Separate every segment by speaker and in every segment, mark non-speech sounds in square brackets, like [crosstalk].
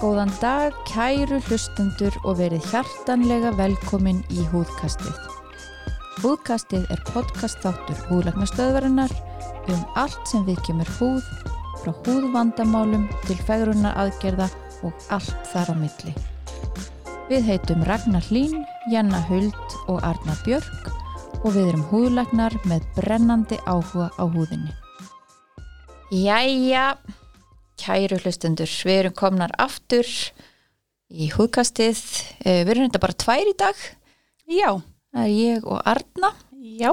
Speaker 1: Góðan dag, kæru hlustendur og verið hjartanlega velkomin í Húðkastið. Húðkastið er podcast þáttur húðlagnastöðvarinnar um allt sem við kemur húð, frá húðvandamálum til fegrunar aðgerða og allt þar á milli. Við heitum Ragnar Hlín, Jenna Huld og Arna Björk og við erum húðlagnar með brennandi áhuga á húðinni. Jæja, Kæru hlustendur, við erum komnar aftur í húðkastið. Eh, Við erum þetta bara tvær í dag,
Speaker 2: Já,
Speaker 1: það er ég og Arna
Speaker 2: já,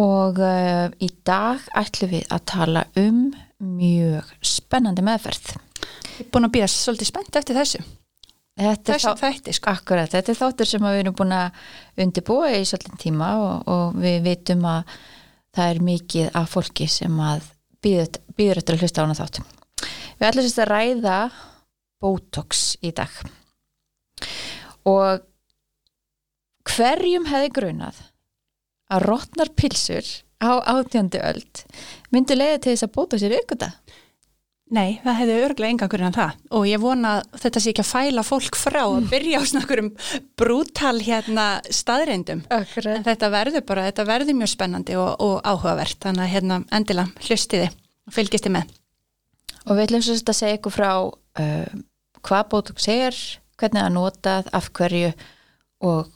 Speaker 1: og uh, í dag ætlum við að tala um mjög spennandi meðferð.
Speaker 2: ég er búin að býja svolítið spennt eftir þessu.
Speaker 1: Þetta
Speaker 2: Þessu
Speaker 1: er, þá,
Speaker 2: þætti, sko.
Speaker 1: akkurat, þetta er þáttur sem að við erum búin að undirbúa í svolítið tíma og, og við vitum að það er mikið af fólki sem að býður býður eftir að hlusta á hana þátt. Við ætlum sérst að ræða Botox í dag. og hverjum hefði grunað að rótnar pilsur á átjöndu öld myndi leiða til þess að bóta sér ykkurta
Speaker 2: Nei, það hefði örglega enga hverjum en það. Og ég vona að þetta sé ekki að fæla fólk frá að byrja á svona einhverjum brútal hérna staðreindum. En
Speaker 1: Akkurat
Speaker 2: þetta verður bara, þetta verður mjög spennandi og, og áhugavert. Þannig að hérna endilega hlustiði og fylgisti með.
Speaker 1: og við ætlum svo að segja ykkur frá uh, hvað bótox er hvernig það er notað, af hverju og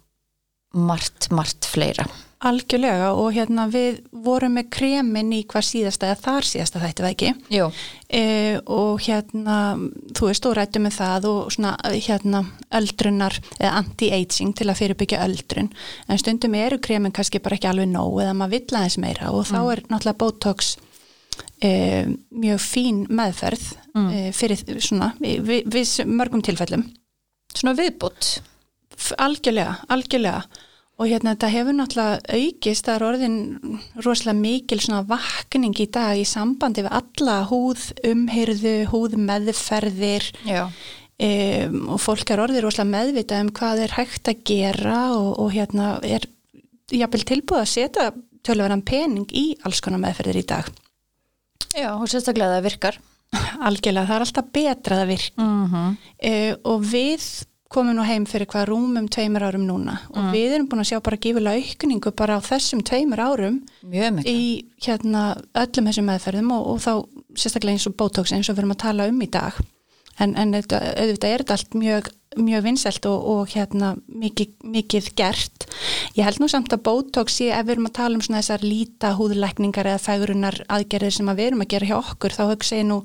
Speaker 1: margt, margt fleira
Speaker 2: Algjörlega og hérna við vorum með kremin í hvað síðasta eða þar síðasta þætti það ekki.
Speaker 1: Jú,
Speaker 2: e, og hérna þú veist og rættu með það og svona hérna öldrunar eða anti-aging til að fyrirbyggja öldrun en stundum eru kremin kannski bara ekki alveg nóg eða maður vill aðeins meira og þá er náttúrulega botox e, mjög fín meðferð e, fyrir svona við, við, við mörgum tilfellum
Speaker 1: svona viðbútt
Speaker 2: F- algjörlega, algjörlega og hérna þetta hefur náttúrulega aukist það er orðin rosalega mikil svona vakning í dag í sambandi við alla húðumhyrðu húðmeðferðir
Speaker 1: Já,
Speaker 2: um, og fólk er orðið rosalega meðvitað um hvað er hægt að gera og, og hérna er jafnvel tilbúið að setja tölvaran pening í alls konar meðferðir í dag [laughs]
Speaker 1: Já og sérstaklega það virkar
Speaker 2: algjörlega, það er alltaf betra að það virki
Speaker 1: mm -hmm.
Speaker 2: uh, og við komum nú heim fyrir hvað rúmum tveimur árum núna og við erum búin að sjá bara gífulega aukningu bara á þessum tveimur árum
Speaker 1: Mjög mikið
Speaker 2: í hérna öllum þessum meðferðum og, og þá sérstaklega eins og botox eins og við erum að tala um í dag en, en auðvitað, auðvitað er þetta allt mjög, mjög vinsælt og, og hérna mikið, mikið gert ég held nú samt að botox sé ef við erum að tala um svona þessar líta húðlækningar eða fægrunar aðgerðir sem að við erum að gera hjá okkur þá hugsa ég nú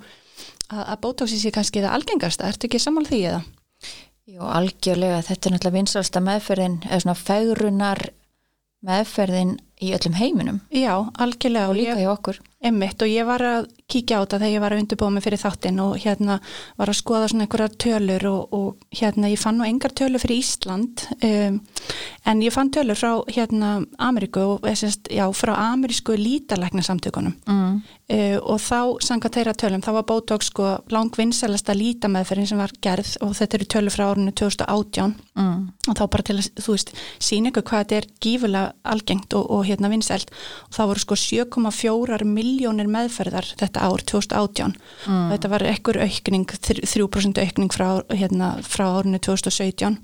Speaker 2: að, að botoxi sé kannski það algengasta, ertu ekki sammála því eða?
Speaker 1: Jú, algjörlega, þetta er náttúrulega vinsalsta meðferðin eða svona fegrunar meðferðin í öllum heiminum
Speaker 2: Já, algjörlega
Speaker 1: og líka hjá okkur.
Speaker 2: Einmitt og ég var að kíkja á þetta þegar ég var að undirbúa mig fyrir þáttinn og hérna var að skoða svona einhverjar tölur og, og hérna ég fann nú engar tölur fyrir Ísland um, en ég fann tölur frá hérna Ameríku og eða sem sagt, já, frá amerísku lítalæknasamtökunum
Speaker 1: Mm.
Speaker 2: uh, og þá sanga þeirra tölum, þá var Botox sko langvinnselasta lítameðferðin sem var gerð og þetta eru tölur frá árinu 2018
Speaker 1: Mm.
Speaker 2: og þá bara til að, þú veist, sína ykkur hvað þetta er gífulega algengt og, og hérna vinsælt og það voru sko 7,4 miljónir meðferðar þetta ár 2018 og þetta var ekkur aukning, þr- 3% aukning frá, hérna, frá árinu 2017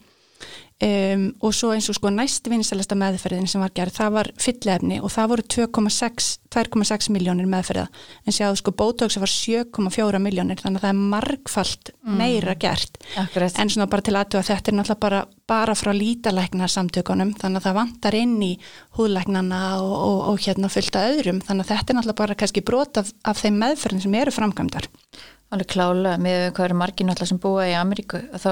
Speaker 2: um, og svo eins og sko næst vinsælasta meðferðin sem var gerð, það var fyllefni og það voru 2,6 2,6 miljónir meðferða en séðu sko Botox var 7,4 miljónir þannig að það er margfalt meira gert
Speaker 1: Akkurat.
Speaker 2: En svona bara til aðtöða þetta er náttúrulega bara, bara frá lítalæknar samtökunum þannig að það vantar inn í húðlæknana og, og, og hérna fullta öðrum þannig að þetta er náttúrulega bara kannski brot af, af þeim meðferðin sem eru framkvæmdar.
Speaker 1: Alveg klála með hvað eru margir náttúrulega sem búa í Ameríku að þá,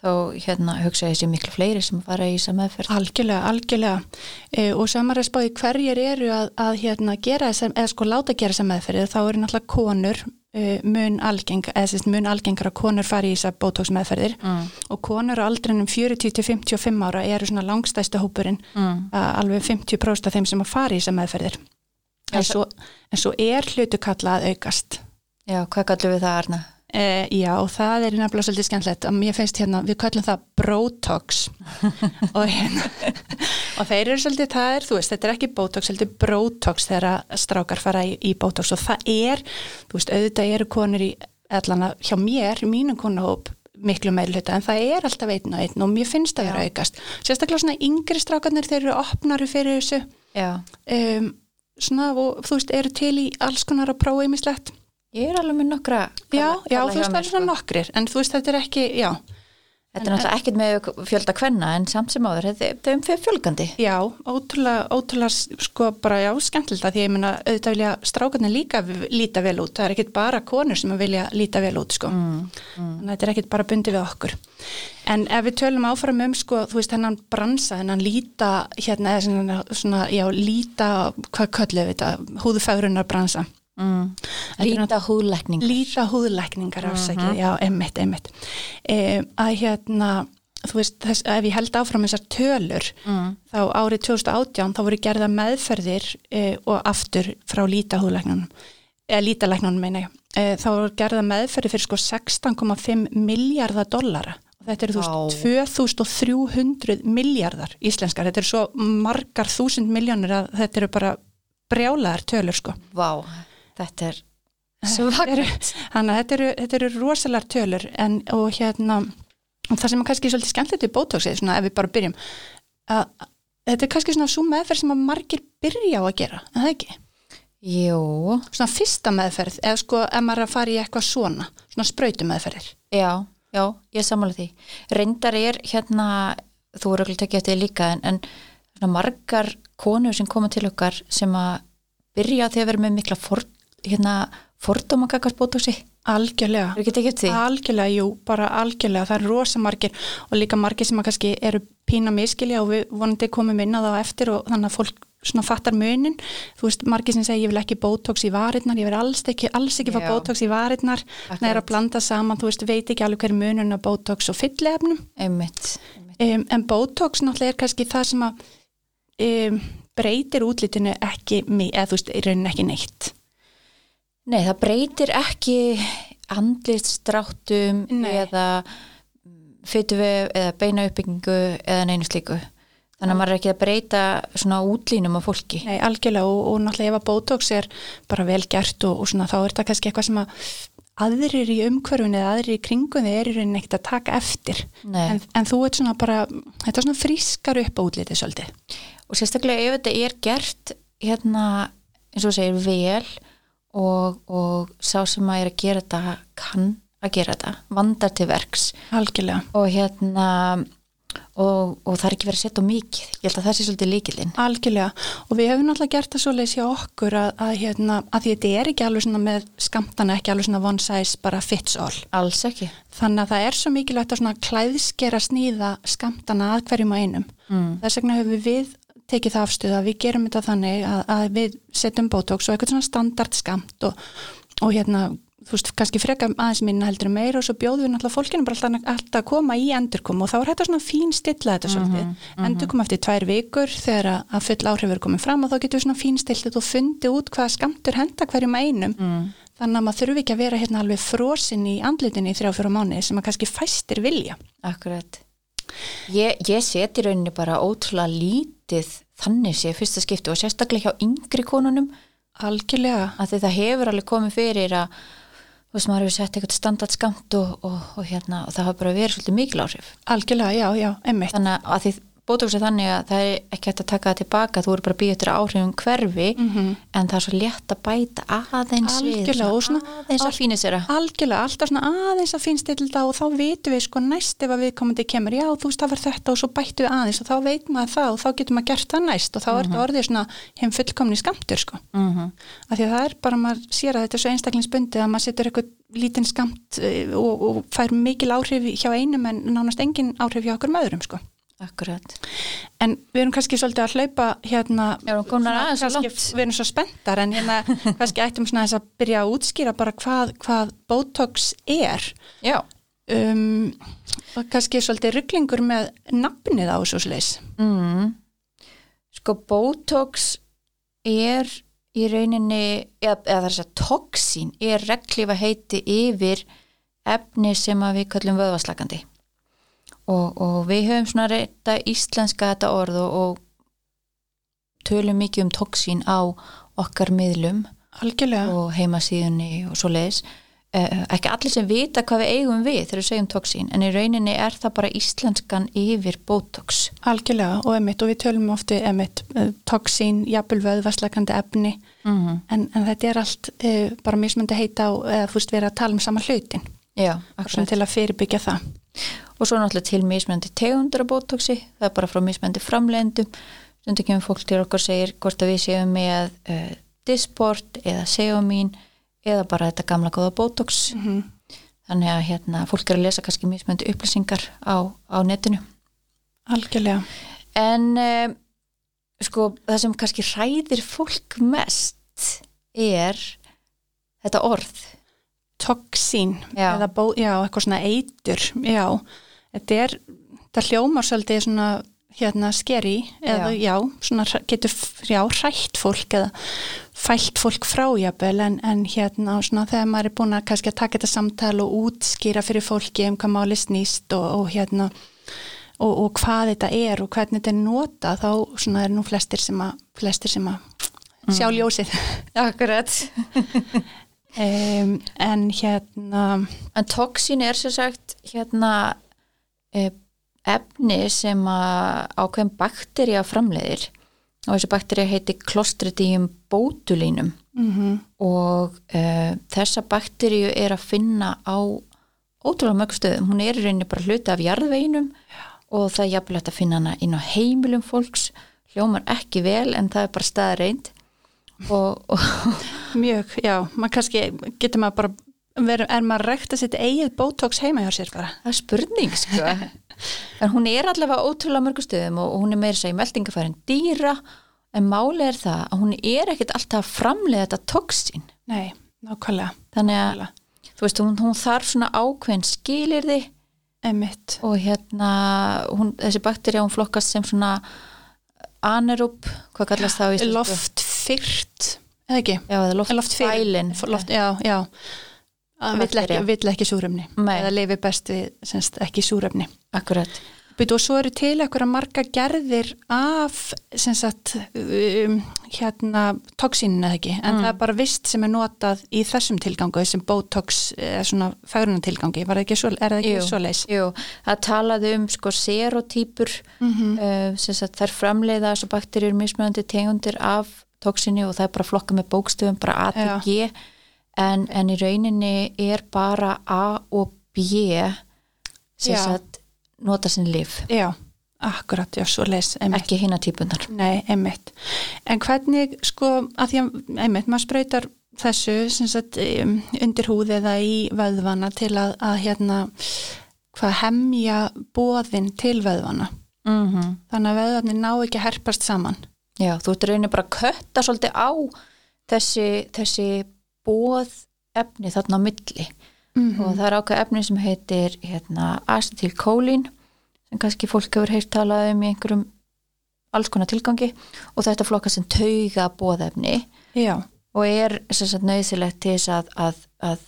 Speaker 1: þá hérna, hugsa ég sé miklu fleiri sem fara í þessa meðferð.
Speaker 2: Algjörlega, algjörlega e, og samar að spáði hverjir eru að, að hérna gera þess eða sko láta gera þess meðferðið þá eru náttúrulega konur e, mun, algeng, eða, sérst, mun algengar að konur fari í þess að bótóksmeðferðir
Speaker 1: Mm.
Speaker 2: og konur á aldrinum 40-55 ára eru svona langstæsta hópurinn
Speaker 1: Mm.
Speaker 2: að alveg 50% af þeim sem að fara í þessar meðferðir.
Speaker 1: Já,
Speaker 2: En svo, en svo er hlutu kalla að aukast.
Speaker 1: Já, hvað kallum við það Arna?
Speaker 2: Eh, já, það er nefnilega svolítið skemmtilegt að mér finnst hérna, við kallum það Brotox og hérna og þeir eru svolítið, það er, þú veist, þetta er ekki Botox, heldur Brotox þegar að strákar fara í, í Botox og það er þú veist, auðvitað eru konur í allan að hjá mér, í mínum konuhóp miklu meiri hluta, en það er alltaf einn og einn og mér finnst það vera að aukast sérstaklega svona yngri strákarnir, þeir eru opnari fyrir þessu
Speaker 1: Já.
Speaker 2: um, svona, og þú veist, eru til í alls konar að prófa ýmislegt
Speaker 1: Ég er alveg með nokkra
Speaker 2: Já,
Speaker 1: kalla-
Speaker 2: já,
Speaker 1: kalla hjá
Speaker 2: þú veist, það
Speaker 1: mér,
Speaker 2: er svona
Speaker 1: sko.
Speaker 2: nokkrir, en þú veist, þetta er ekki, já,
Speaker 1: Þetta er náttúrulega ekkert með fjölda kvenna en samt sem áður, þetta- þetta er um fjölgandi
Speaker 2: já, ótrúlega, ótrúlega, sko, bara, já, skemmtilegt að því, ég meina, auðvitað vilja strákarnir líka v- líta vel út, það er ekkit bara konur sem vilja líta vel út, sko,
Speaker 1: Mm,
Speaker 2: þannig að þetta er ekkit bara bundið við okkur. En ef við tölum áfram um, sko, þú veist, hennan bransa, hennan líta, hérna, eða svona, svona, já, líta, hvað kölluðu við þetta, húðfægrunar bransa.
Speaker 1: mm. Líta húðlækning
Speaker 2: Líta húðlækningar afsækið, já, einmitt, einmitt. E, að hérna, þú veist, þess, ef ég held áfram þessar tölur,
Speaker 1: Mm.
Speaker 2: þá árið 2018 þá voru gerða meðferðir e, og aftur frá líta húðlæknunum, eða lítalæknunum meina ég, e, þá voru gerða meðferðir fyrir sko 16,5 miljardar dollara. Og Þetta eru þú veist, 2300 miljardar íslenskar, þetta eru svo margar þúsund miljónir að þetta eru bara brjálaðar tölur sko.
Speaker 1: Vá, þetta er svagt
Speaker 2: Þannig að þetta eru, þetta eru rosalar tölur en, og hérna, og það sem er kannski svolítið skemmtilegt við botoxið, svona ef við bara byrjum, að, þetta er kannski svona svo meðferð sem að margir byrja á að gera, en það ekki?
Speaker 1: Jú,
Speaker 2: Svona fyrsta meðferð, eða sko ef maður er að fara í eitthvað svona, svona sprautu meðferðir.
Speaker 1: já, já, ég samanlega því Reyndar er hérna þú voru ekki tekið eftir því líka en, en svona margar konur sem koma til okkar sem að byrja á því að vera með mikla for, hérna, fordóma kakast bótóksi
Speaker 2: Algjörlega.
Speaker 1: Er ekki tekið eftir því?
Speaker 2: Algjörlega, jú, bara algjörlega, það er rosa margir og líka margir sem að kannski eru pína miskilja og við vonandi komum inn að það á eftir og þannig að fólk svona fattar munin, þú veist, margir sem segja ég vil ekki bótox í varirnar, ég vil alls ekki, alls ekki fá
Speaker 1: Já.
Speaker 2: bótox í varirnar, það er að blanda saman, þú veist, veit ekki alveg hver er munin á bótox og fyllefnum,
Speaker 1: Einmitt, einmitt.
Speaker 2: um, en bótox náttúrulega er kannski það sem að um, breytir útlitinu ekki, mi- eða þú veist, í raunin ekki neitt.
Speaker 1: Nei, það breytir ekki andliststráttum
Speaker 2: Nei.
Speaker 1: eða fytuvef eða beina uppbyggingu eða neinu slíku þannig að maður er ekki að breyta svona útlínum á fólki
Speaker 2: Nei, algjörlega og, og náttúrulega ef að botox er bara vel gert og, og svona þá er það kannski eitthvað sem að aðrir í umhverfinu eða aðrir í kringunni er í rauninni ekkert að taka eftir.
Speaker 1: Nei.
Speaker 2: En, en þú ert svona bara, þetta er svona frískar upp á útlitið svolítið.
Speaker 1: og sérstaklega ef þetta er gert hérna, eins og þú segir, vel og, og sá sem að er að gera þetta kann að gera þetta, vandar til verks
Speaker 2: Algjörlega.
Speaker 1: og hérna og, og það er ekki verið að setja á mikið ég held að það sé svolítið líkilinn
Speaker 2: Algjörlega og við hefum náttúrulega gert það svo leys hjá okkur að, að, hérna, að því þetta er ekki alveg svona með skamtana, ekki alveg svona one size bara fits all.
Speaker 1: alls ekki
Speaker 2: Þannig að það er svo mikilvægt að svona klæðskera snýða skamtana að hverjum að einum. Mm. Þess vegna höfum við tekið það afstöð að við gerum þetta þannig að, að við setjum botox og eitthvað svona standard skamt og, og hérna, þú veist, kannski frekar aðeins minna heldur en meira og svo bjóðum við náttúrulega fólkinu bara alltaf, alltaf að koma í endurkom og þá er þetta svona fín stilla þetta svolítið. Endurkom eftir tvær vikur þegar að- að full áhrif er komið fram og þá getur við svona fín stillið og fundið út hvaða skamtur henda hverjum að einum. Mm þannig að maður þurfi ekki að vera hérna alveg frosin í andlitinni í þrjá fjóra mánuði sem að kannski fæstir vilja.
Speaker 1: Akkurat. Ég, ég seti rauninni bara ótrúlega lítið þannig sé fyrsta skipti og sérstaklega hjá yngri konunum
Speaker 2: Algjörlega.
Speaker 1: að því það hefur alveg komið fyrir að þú veist maður hefur sett eitthvað standardskamt og, og, og hérna og það hafa bara verið svolítið mikil áhrif.
Speaker 2: Algjörlega, já, já, emmitt.
Speaker 1: Þannig að- að því bótóks er þannig að það er ekki hægt að taka það tilbaka, þú eru bara að býja eftir áhrifum hverfi en það er svo létt að bæta aðeins við,
Speaker 2: Mhm. Algjörlega, og svona-
Speaker 1: aðeins að fínu sér að
Speaker 2: Algjörlega, alltaf svona aðeins að finnst til þetta og þá vitum við sko næst ef að viðkomandi kemur, já, þú veist, það var þetta og svo bættu við aðeins og þá veit maður það og þá getur maður gert það næst og þá
Speaker 1: Mhm.
Speaker 2: er þetta orðið svona heim fullkomni skamtur, sko.
Speaker 1: mm -hmm.
Speaker 2: Af því að það er bara, maður sér að þetta er svo einstaklingsbundið að maður setur eitthvað lítinn skamt eh, og, og fær mikil áhrif hjá einum en nánast engin áhrif hjá okkur möðurum, sko.
Speaker 1: Akkurat.
Speaker 2: En við erum kannski svolítið að hlaupa hérna,
Speaker 1: Já, við erum komnar
Speaker 2: svona
Speaker 1: aðeins of
Speaker 2: kannski-
Speaker 1: langt.
Speaker 2: við erum svo spenntar en hérna
Speaker 1: [laughs]
Speaker 2: kannski ættum svona þess að byrja að útskýra bara hvað, hvað Botox er.
Speaker 1: Já.
Speaker 2: Um, og kannski svolítið rugglingur með nafnið á þessu slis.
Speaker 1: Mm. Sko Botox er í rauninni, eða, eða það er að segja toxin er reglífa heiti yfir efni sem að við kallum vöðvaslakandi og, og við höfum svona reyta íslenska þetta orð og, og tölum mikið um toxín á okkar miðlum
Speaker 2: algjörlega,
Speaker 1: og heimasíðunni og svo leiðis ekki allir sem vita hvað við eigum við þegar við segjum toxín en í rauninni er það bara íslenskan yfir botox
Speaker 2: algjörlega og emitt og við tölum ofti emitt toxín, jafnvöð, verslakandi efni
Speaker 1: mm -hmm.
Speaker 2: en, en þetta er allt uh, bara mismöndi heita og eða fúst vera að tala um sama hlutin
Speaker 1: Já,
Speaker 2: svona
Speaker 1: akkurat.
Speaker 2: til að fyrirbyggja það
Speaker 1: og svo er náttúrulega til mismöndi tegundur af botoxi, það er bara frá mismöndi framleiðendum, stundum kemur fólk til okkar og segir hvort að við séum með uh, disport eða seomín eða bara þetta gamla góða botox
Speaker 2: mm -hmm.
Speaker 1: þannig að hérna, fólk er að lesa kannski mismöndi upplýsingar á, á netinu
Speaker 2: algjörlega
Speaker 1: En um, sko, það sem kannski hræðir fólk mest er þetta orð.
Speaker 2: toxín
Speaker 1: Já.
Speaker 2: eða bó, já, eitthvað svona eitur já, þetta er þetta hljómar svolítið svona hérna skeri eða já, svona hræ- getur f- já, hrætt fólk eða fælt fólk frájabel en, en hérna svona þegar maður er búin að kannski að taka þetta samtal og útskýra fyrir fólki um hvað máli snýst og, og hérna og, og hvað þetta er og hvernig þetta er nota þá svona er nú flestir sem að flestir sem að sjá ljósið [laughs]
Speaker 1: Akkurat.
Speaker 2: um, en hérna
Speaker 1: En toxin er sem sagt hérna eh, efni sem að ákveðin bakterja framleiðir og þessi bakterja heiti Clostridium botulinum
Speaker 2: mm
Speaker 1: og uh, þessa bakteríu er að finna á ótrúlega mörg stöðum, hún er í rauninni bara hluti af jarðveginum og það er jafnvel hægt að finna hana inn á heimilum fólks hljómar ekki vel en það er bara staðreind og, og
Speaker 2: Mjög, já, maður kannski getur maður bara, verið, er maður rekt að setja eigið botox heima hjá sér bara?
Speaker 1: það er spurning sko en hún er allavega á ótrúlega mörg stöðum og, og hún er meira að segja meldingafærin dýra en máli er það að hún er ekkit alltaf að framlega þetta toxin
Speaker 2: Nei, nákvæmlega,
Speaker 1: þannig að
Speaker 2: Nákvæmlega.
Speaker 1: þú veist hún, hún þarf svona ákveðin skilirði
Speaker 2: emitt,
Speaker 1: og hérna hún, þessi bakterja hún flokkast sem svona anerúb, hvað kallast það á íslensku?
Speaker 2: loftfyrt, eða ekki?
Speaker 1: já, eða loft,
Speaker 2: Loftfyrt. Loft, já, já, að vill ekki,
Speaker 1: Baktería.
Speaker 2: vill ekki súrefni,
Speaker 1: Nei.
Speaker 2: eða lifi best við, semst, ekki súrefni.
Speaker 1: akkurat
Speaker 2: Býtu og svo eru til eitthvað marga gerðir af, sem sagt, um, hérna, toxinin eða ekki,
Speaker 1: Mm.
Speaker 2: en það er bara vist sem er notað í þessum tilgangu, þessum botox, eða svona færunatilgangi, var það ekki svo, er það ekki
Speaker 1: Jú,
Speaker 2: svo leis?
Speaker 1: Jú, það talaði um sko serotýpur mm
Speaker 2: Mhm.
Speaker 1: -hmm. uh, þær framleiða þessu bakterjur mismunandi tegundir af tóksinu og það er bara flokka með bókstöfum, bara A til
Speaker 2: Já.
Speaker 1: G en, en í rauninni er bara A og B sem
Speaker 2: Já.
Speaker 1: sagt nota sinn líf,
Speaker 2: Já, akkurat, já, svo leis, einmitt.
Speaker 1: ekki hinna típunar
Speaker 2: Nei, einmitt. En hvernig, sko, að því að, einmitt, maður sprautar þessu, sem sagt, um, undir húð eða í vöðvana til að, að hérna, hvað hemja bóðin til vöðvana?
Speaker 1: mm
Speaker 2: Mhm.
Speaker 1: -hmm.
Speaker 2: þannig að veðarnir ná ekki að herpast saman.
Speaker 1: Já, þú ert rauninni bara að kötta svolítið á þessi, þessi bóð efni þarna á milli og það er ákveð efni sem heitir hérna, acetilkólin sem kannski fólk hefur heyrt talað um í einhverjum alls konar tilgangi og þetta flokka sem tauga bóðefni
Speaker 2: Já,
Speaker 1: og er sem sagt, nöðsilegt til þess að, að, að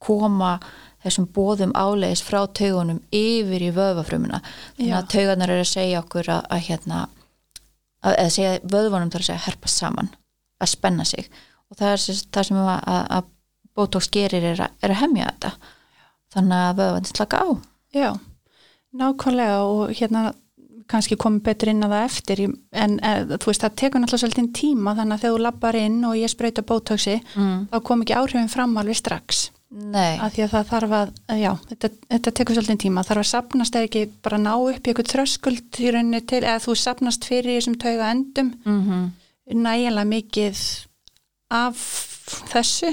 Speaker 1: koma þessum bóðum áleiðis frá taugunum yfir í vöðvafrumuna þannig að taugarnar eru að segja okkur að, að hérna að, að segja vöðvanum þar að segja að herpa saman að spenna sig og það er sem, sagt það sem að, að, að botox gerir er að, er að hemja þetta þannig að vöðvann slaka á
Speaker 2: já, nákvæmlega og hérna kannski komið betur inn að það eftir í- en e, þú veist það tekur náttúrulega svolítið tíma þannig að þegar þú lappar inn og ég sprauta bótóksi
Speaker 1: mm.
Speaker 2: þá kom ekki áhrifin fram alveg strax
Speaker 1: Nei,
Speaker 2: af því að það þarf að, eh, já, þetta, þetta tekur svolítið tíma, þarf að sapnast eða ekki bara ná upp í eitthvað þröskuld í rauninni til eða þú sapnast fyrir þessum tauga endum
Speaker 1: mm -hmm.
Speaker 2: nægilega mikið af þessu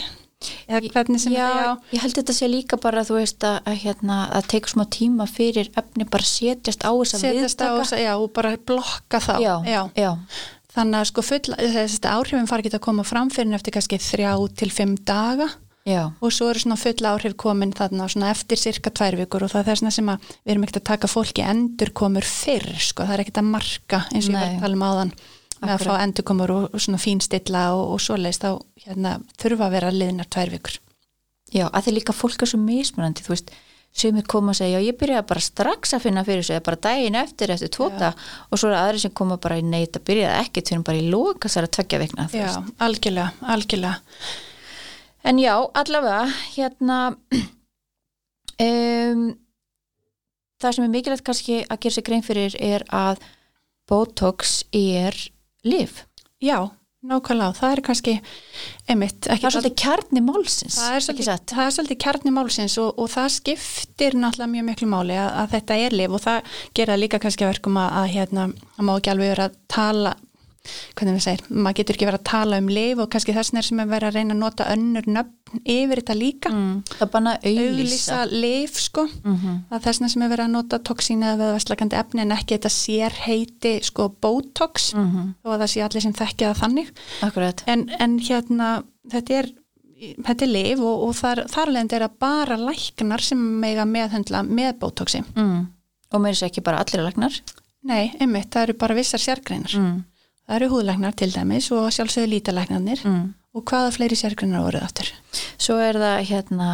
Speaker 2: eða hvernig sem þetta, já,
Speaker 1: já, ég held þetta sé líka bara þú veist að, að hérna, að teka smá tíma fyrir efni bara setjast á þess að
Speaker 2: setjast á þess að, já, og bara blokka þá.
Speaker 1: já, já. já.
Speaker 2: Þannig að sko full, þessi áhrifin fara ekki að koma fram fyrir en eftir kannski þrjá til fimm daga
Speaker 1: Já,
Speaker 2: og svo eru svona full áhrif komin þarna svona eftir cirka tvær vikur og það er þessna sem að við erum ekkert að taka fólki endurkomur fyrr, sko, það er ekkert að marka eins og ég var
Speaker 1: Nei.
Speaker 2: að tala um áðan með að fá endurkomur og, og svona fínstilla og, og svoleiðist þá hérna, þurfa að vera liðnar tvær vikur.
Speaker 1: Já, að því líka fólk er svo mismunandi, þú veist, sem er koma að segja, já, ég byrjaði bara strax að finna fyrir þessu, eða bara daginn eftir, eftir tóta og svo eru aðri sem koma bara í neitt að byrjaði ekkert fyrir bara í lóka þessara tveggja vikna, þú
Speaker 2: Já,
Speaker 1: veist.
Speaker 2: algjörlega, algjörlega.
Speaker 1: En já, allavega, hérna, [clears throat] um, það sem er mikilvægt kannski að gera sér grein fyrir er að Botox er lif.
Speaker 2: Já, nákvæmlega, það er kannski einmitt, ekki
Speaker 1: Það er svolítið kjarni málsins.
Speaker 2: það er
Speaker 1: ekki
Speaker 2: svolítið,
Speaker 1: satt?
Speaker 2: það er svolítið kjarni málsins og, og það skiptir náttúrulega mjög miklu máli að, að þetta er lif og það gera líka kannski að verkum að, að hérna, það má ekki alveg vera að tala hvernig við segir, maður getur ekki verið að tala um lif og kannski þessin er sem er verið að reyna að nota önnur nöfn yfir þetta líka mm.
Speaker 1: Það banna Mhm, auðlýsa.
Speaker 2: auglýsa lif sko að þessna sem er verið að nota toxín eða veðvæslagandi efni en ekki þetta sér heiti sko botox
Speaker 1: Mm.
Speaker 2: þó að það sé allir sem þekkja það þannig
Speaker 1: mhm, Akkurat.
Speaker 2: en, en hérna þetta er, þetta er lif og, og þar, þarlegend er að bara læknar sem mega meðhendla með botoxi
Speaker 1: Mm. Og mér er sér ekki bara allir lagnar.
Speaker 2: nei, einmitt, það eru bara vissar sérgreinar
Speaker 1: Mm.
Speaker 2: það eru húðlæknar til dæmis og sjálfsögðu lítalæknarnir
Speaker 1: Mm.
Speaker 2: og hvaða fleiri sérgreinar voruð aftur
Speaker 1: Svo er það hérna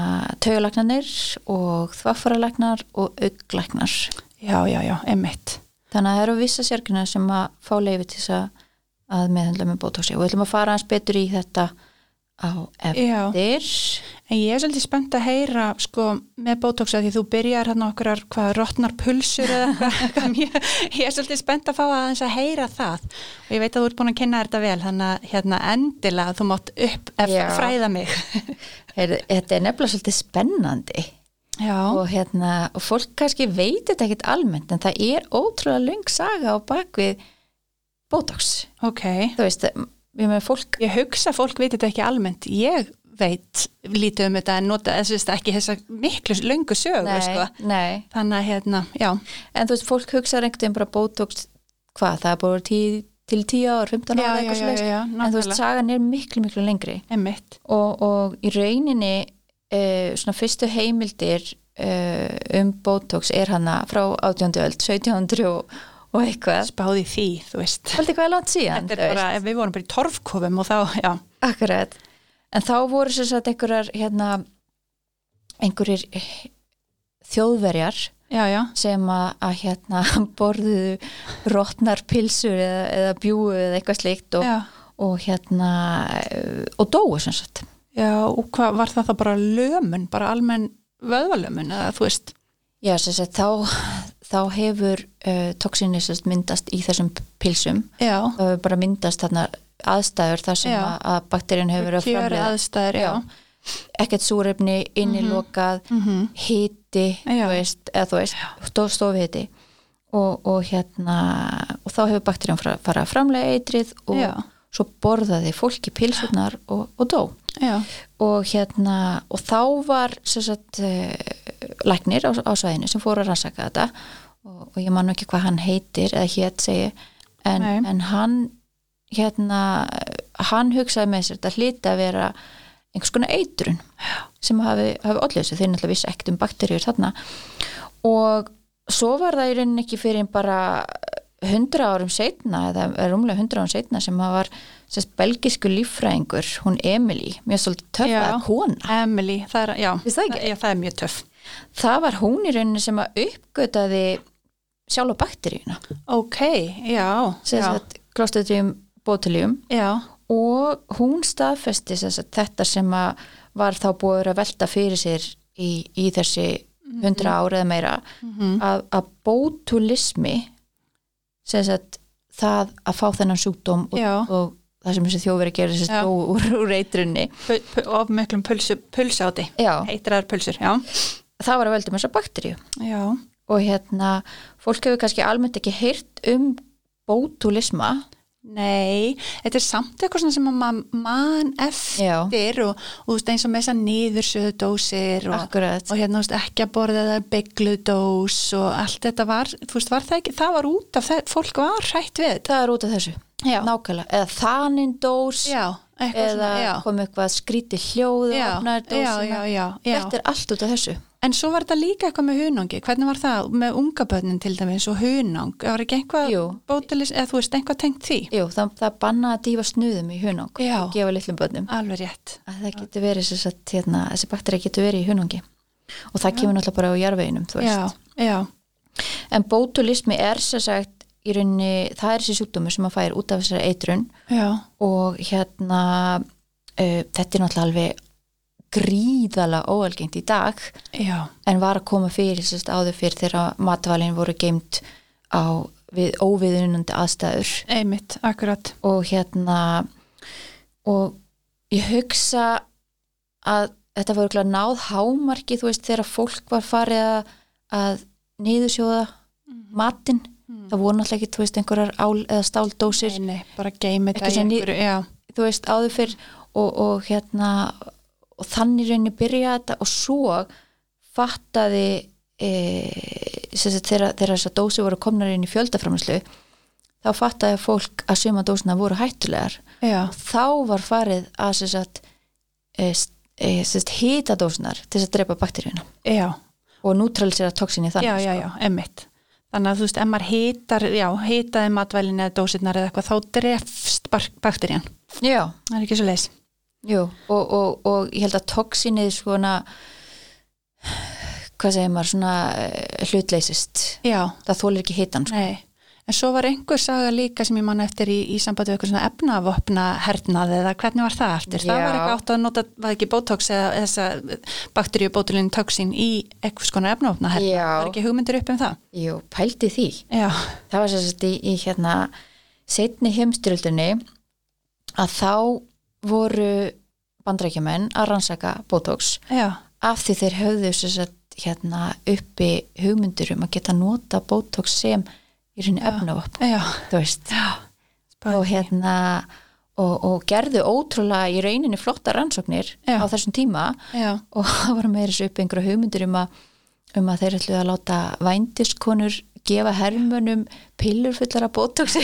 Speaker 1: taugalagnarnir og þvagfaralagnar og auglagnar.
Speaker 2: já, já, já, einmitt
Speaker 1: Þannig að það eru vissa sérgrunar sem að fá leifi til þess að- að meðhandla með botoxi og við ætlum að fara aðeins betur í þetta á
Speaker 2: já.
Speaker 1: eftir.
Speaker 2: En ég er svolítið spennt að heyra sko, með botox að því þú byrjar hann okkur hvað rottnar pulsur eða hvað, [laughs] hvað ég, ég er svolítið spennt að fá aðeins að heyra það og ég veit að þú ert búin að kynna þér þetta vel þannig að hérna, endilega þú mátt upp ef
Speaker 1: Já.
Speaker 2: fræða mig
Speaker 1: Heyrðu, Þetta er nefnilega svolítið spennandi
Speaker 2: Já,
Speaker 1: og, hérna, og fólk kannski veit þetta ekkit almennt en það er ótrúlega löng saga á bakvið botox.
Speaker 2: ok
Speaker 1: Þú veist, við með fólk
Speaker 2: Ég hugsa að fólk veit þetta ekki almennt ég veit lítið um þetta en nota þess að ekki þessa miklu löngu sögu sko.
Speaker 1: nei,
Speaker 2: þannig að hérna, já,
Speaker 1: en þú veist, fólk hugsaður einhvern veginn bara botox, hvað, það er bara tí, til 10 ár, 15
Speaker 2: Já,
Speaker 1: ára
Speaker 2: já,
Speaker 1: eitthvað
Speaker 2: já,
Speaker 1: slags,
Speaker 2: já, já,
Speaker 1: en þú veist,
Speaker 2: nákvæmlega.
Speaker 1: sagan er miklu, miklu lengri
Speaker 2: emmitt
Speaker 1: og, og í rauninni uh, svona fyrstu heimildir uh, um botox er hana frá 18. öld, 1700 og, og eitthvað,
Speaker 2: spáði því, þú veist
Speaker 1: haldið hvað er langt síðan
Speaker 2: Þetta
Speaker 1: þú
Speaker 2: er bara, ef við vorum bara í torfkofum og þá, já,
Speaker 1: Akkurat. En þá voru sér satt einhverjar, hérna, einhverjir eh, þjóðverjar
Speaker 2: já, já.
Speaker 1: sem að, að hérna, [laughs] borðuðu rótnar pilsur eða, eða bjúu eða eitthvað slíkt og,
Speaker 2: já.
Speaker 1: og hérna, eh, og dóu sem sagt.
Speaker 2: Já, og hvað var það þá bara lömun, bara almenn vöðvalömun eða þú veist?
Speaker 1: Já, sem sagt, þá, þá hefur uh, toxinni sem sagt myndast í þessum pilsum.
Speaker 2: Já,
Speaker 1: Það hefur bara myndast þarna aðstæður þar sem
Speaker 2: Já.
Speaker 1: að, að bakteríun hefur verið að
Speaker 2: kjöri
Speaker 1: framlega.
Speaker 2: aðstæður, já.
Speaker 1: Ekkert súrefni, innilokað,
Speaker 2: Mm -hmm.
Speaker 1: hiti,
Speaker 2: Já.
Speaker 1: þú veist, eða þú veist, stof, stofhiti og, og hérna og þá hefur bakterjum fara, fara að framlega eitrið og
Speaker 2: Já.
Speaker 1: svo borðaði fólki pilsurnar og, og dó
Speaker 2: Já,
Speaker 1: og hérna og þá var sem sagt eh, læknir á, á svæðinu sem fóru að rannsaka þetta og, og ég man nú ekki hvað hann heitir eða hétt segi en,
Speaker 2: Nei.
Speaker 1: en hann hérna hann hugsaði með sér þetta hlýta að vera einhvers konar eitrun sem hafi, hafi allir þessu, þeir náttúrulega vissi ekkert um bakterjur þarna og svo var það í rauninni ekki fyrir en bara 100 árum setna eða eða rúmlega 100 árum setna sem að var sérst, belgisku líffræðingur, hún Emily mjög svolítið töff
Speaker 2: Já.
Speaker 1: að kona
Speaker 2: Emily, það er, já,
Speaker 1: Veist það ekki?
Speaker 2: já, það er mjög töff.
Speaker 1: það var hún í rauninni sem að uppgötaði sjálfa bakteríuna
Speaker 2: Ok, já, já,
Speaker 1: klostuðum botulium
Speaker 2: já,
Speaker 1: og hún staðfesti sem sagt, þetta sem að var þá búið að velta fyrir sér í, í þessi
Speaker 2: Mhm.
Speaker 1: 100 ára eða meira að, að bótulismi sem sagt það að fá þennan sjúkdóm og,
Speaker 2: Já.
Speaker 1: og það sem þessi þjófur að gera þessi
Speaker 2: Já.
Speaker 1: stó úr, úr eitrunni
Speaker 2: pu- pu- of miklum pulsu, pulsáti,
Speaker 1: Já,
Speaker 2: eitrar pulsur, já,
Speaker 1: það var að velta með þessa bakteríu
Speaker 2: já,
Speaker 1: og hérna, fólk hefur kannski almennt ekki heyrt um bótulisma
Speaker 2: Nei, þetta er samt eitthvað svona sem að maður man
Speaker 1: Já.
Speaker 2: eftir og, og þú veist eins og með þessar niðursöðu dósir og,
Speaker 1: Akkurat.
Speaker 2: og hérna þú veist ekki að borða það bygglu dós og allt þetta var, þú veist, var það ekki, það var út af það, fólk var hrætt við þetta.
Speaker 1: það er út af þessu
Speaker 2: Já.
Speaker 1: nákvæmlega, eða þanindós
Speaker 2: Já, eitthvað
Speaker 1: eða
Speaker 2: svona, já.
Speaker 1: kom eitthvað skríti hljóð og
Speaker 2: Já,
Speaker 1: opnaði
Speaker 2: já,
Speaker 1: dósina
Speaker 2: já, já, já.
Speaker 1: þetta er allt út af þessu
Speaker 2: En svo var þetta líka eitthvað með hunangi, hvernig var það með unga börnin til dæmis og hunang, var ekki eitthvað
Speaker 1: Jú.
Speaker 2: bótilis, eða þú veist, eitthvað tengt því?
Speaker 1: Jú, það, það bannaði að dýfa snuðum í hunang
Speaker 2: Já.
Speaker 1: og gefa litlum börnum
Speaker 2: Alveg rétt.
Speaker 1: að það getur verið sem sagt, hérna, þessi bakterið getur verið í hunangi og það kemur náttúrulega bara á jarveginum þú veist.
Speaker 2: Já, já,
Speaker 1: en bótulismi er sem sagt í rauninni, það er þessi sjúkdómur sem maður fær út af þessari eitrun
Speaker 2: já,
Speaker 1: og hérna uh, þetta er náttúrulega alveg gríðalega óalgengt í dag
Speaker 2: já,
Speaker 1: en var að koma fyrir sem sagt, áður fyrir þegar matvalin voru geimt á við óviðunandi aðstæður
Speaker 2: einmitt, akkurat.
Speaker 1: og hérna og ég hugsa að þetta var örugglega náð hámarki þú veist þegar fólk var farið að, að niðursjóða matinn, það voru náttúrulega ekki þú veist einhverjar ál eða stáldósir
Speaker 2: Nei, nei, bara geimi þetta
Speaker 1: Eitthvað
Speaker 2: í
Speaker 1: sem ný-
Speaker 2: einhverju, já,
Speaker 1: þú veist áður fyrr og, og hérna og þannig rauninni byrjaði þetta og svo fattaði e, sagt, þegar, þegar þessar dósi voru komnar inn í fjöldaframlislu þá fattaði fólk að suma dósina voru hættulegar
Speaker 2: já,
Speaker 1: þá var farið að sem sagt, e, e, sem sagt, hita dósinar til þess að drepa bakteríuna
Speaker 2: já,
Speaker 1: og nútralisera toksinni þannig
Speaker 2: já, já, já, einmitt. Þannig að þú veist, ef maður hitar, já, hitaði matvælin eða dósirnar eða eitthvað, þá drefst bak- bakterían.
Speaker 1: Sko. já
Speaker 2: Það er ekki svo leis.
Speaker 1: Jú, og, og, og ég held að toksinnið svona hvað segir maður, svona eh, hlutleysist
Speaker 2: Já,
Speaker 1: það þólir ekki hitan sko.
Speaker 2: Nei, en svo var einhver saga líka sem ég manna eftir í, í sambandi við eitthvað svona efnavopna hernað eða hvernig var það eftir? Það
Speaker 1: Já.
Speaker 2: var eitthvað átt að nota, var ekki botox eða þessa bakteríubótulinn toxin í eitthvað skona efnavopna hernað?
Speaker 1: Já.
Speaker 2: Var ekki hugmyndir upp um það?
Speaker 1: Jú, pældi því
Speaker 2: Já,
Speaker 1: það var sérst í, í hérna setni heimstyrjöldinni að þá voru bandrækjumenn að rannsaka botox
Speaker 2: já,
Speaker 1: af því þeir höfðu sérst hérna uppi hugmyndur um að geta nota botox sem í rauninni efnavopn,
Speaker 2: já,
Speaker 1: þú veist
Speaker 2: já.
Speaker 1: og hérna og, og gerðu ótrúlega í rauninni flotta rannsóknir
Speaker 2: Já.
Speaker 1: á þessum tíma
Speaker 2: Já,
Speaker 1: og [laughs] það var meira þessu upp einhverja hugmyndir um að, um að þeir ætluðu að láta vændiskonur gefa hermönum pillur fullar af botoxi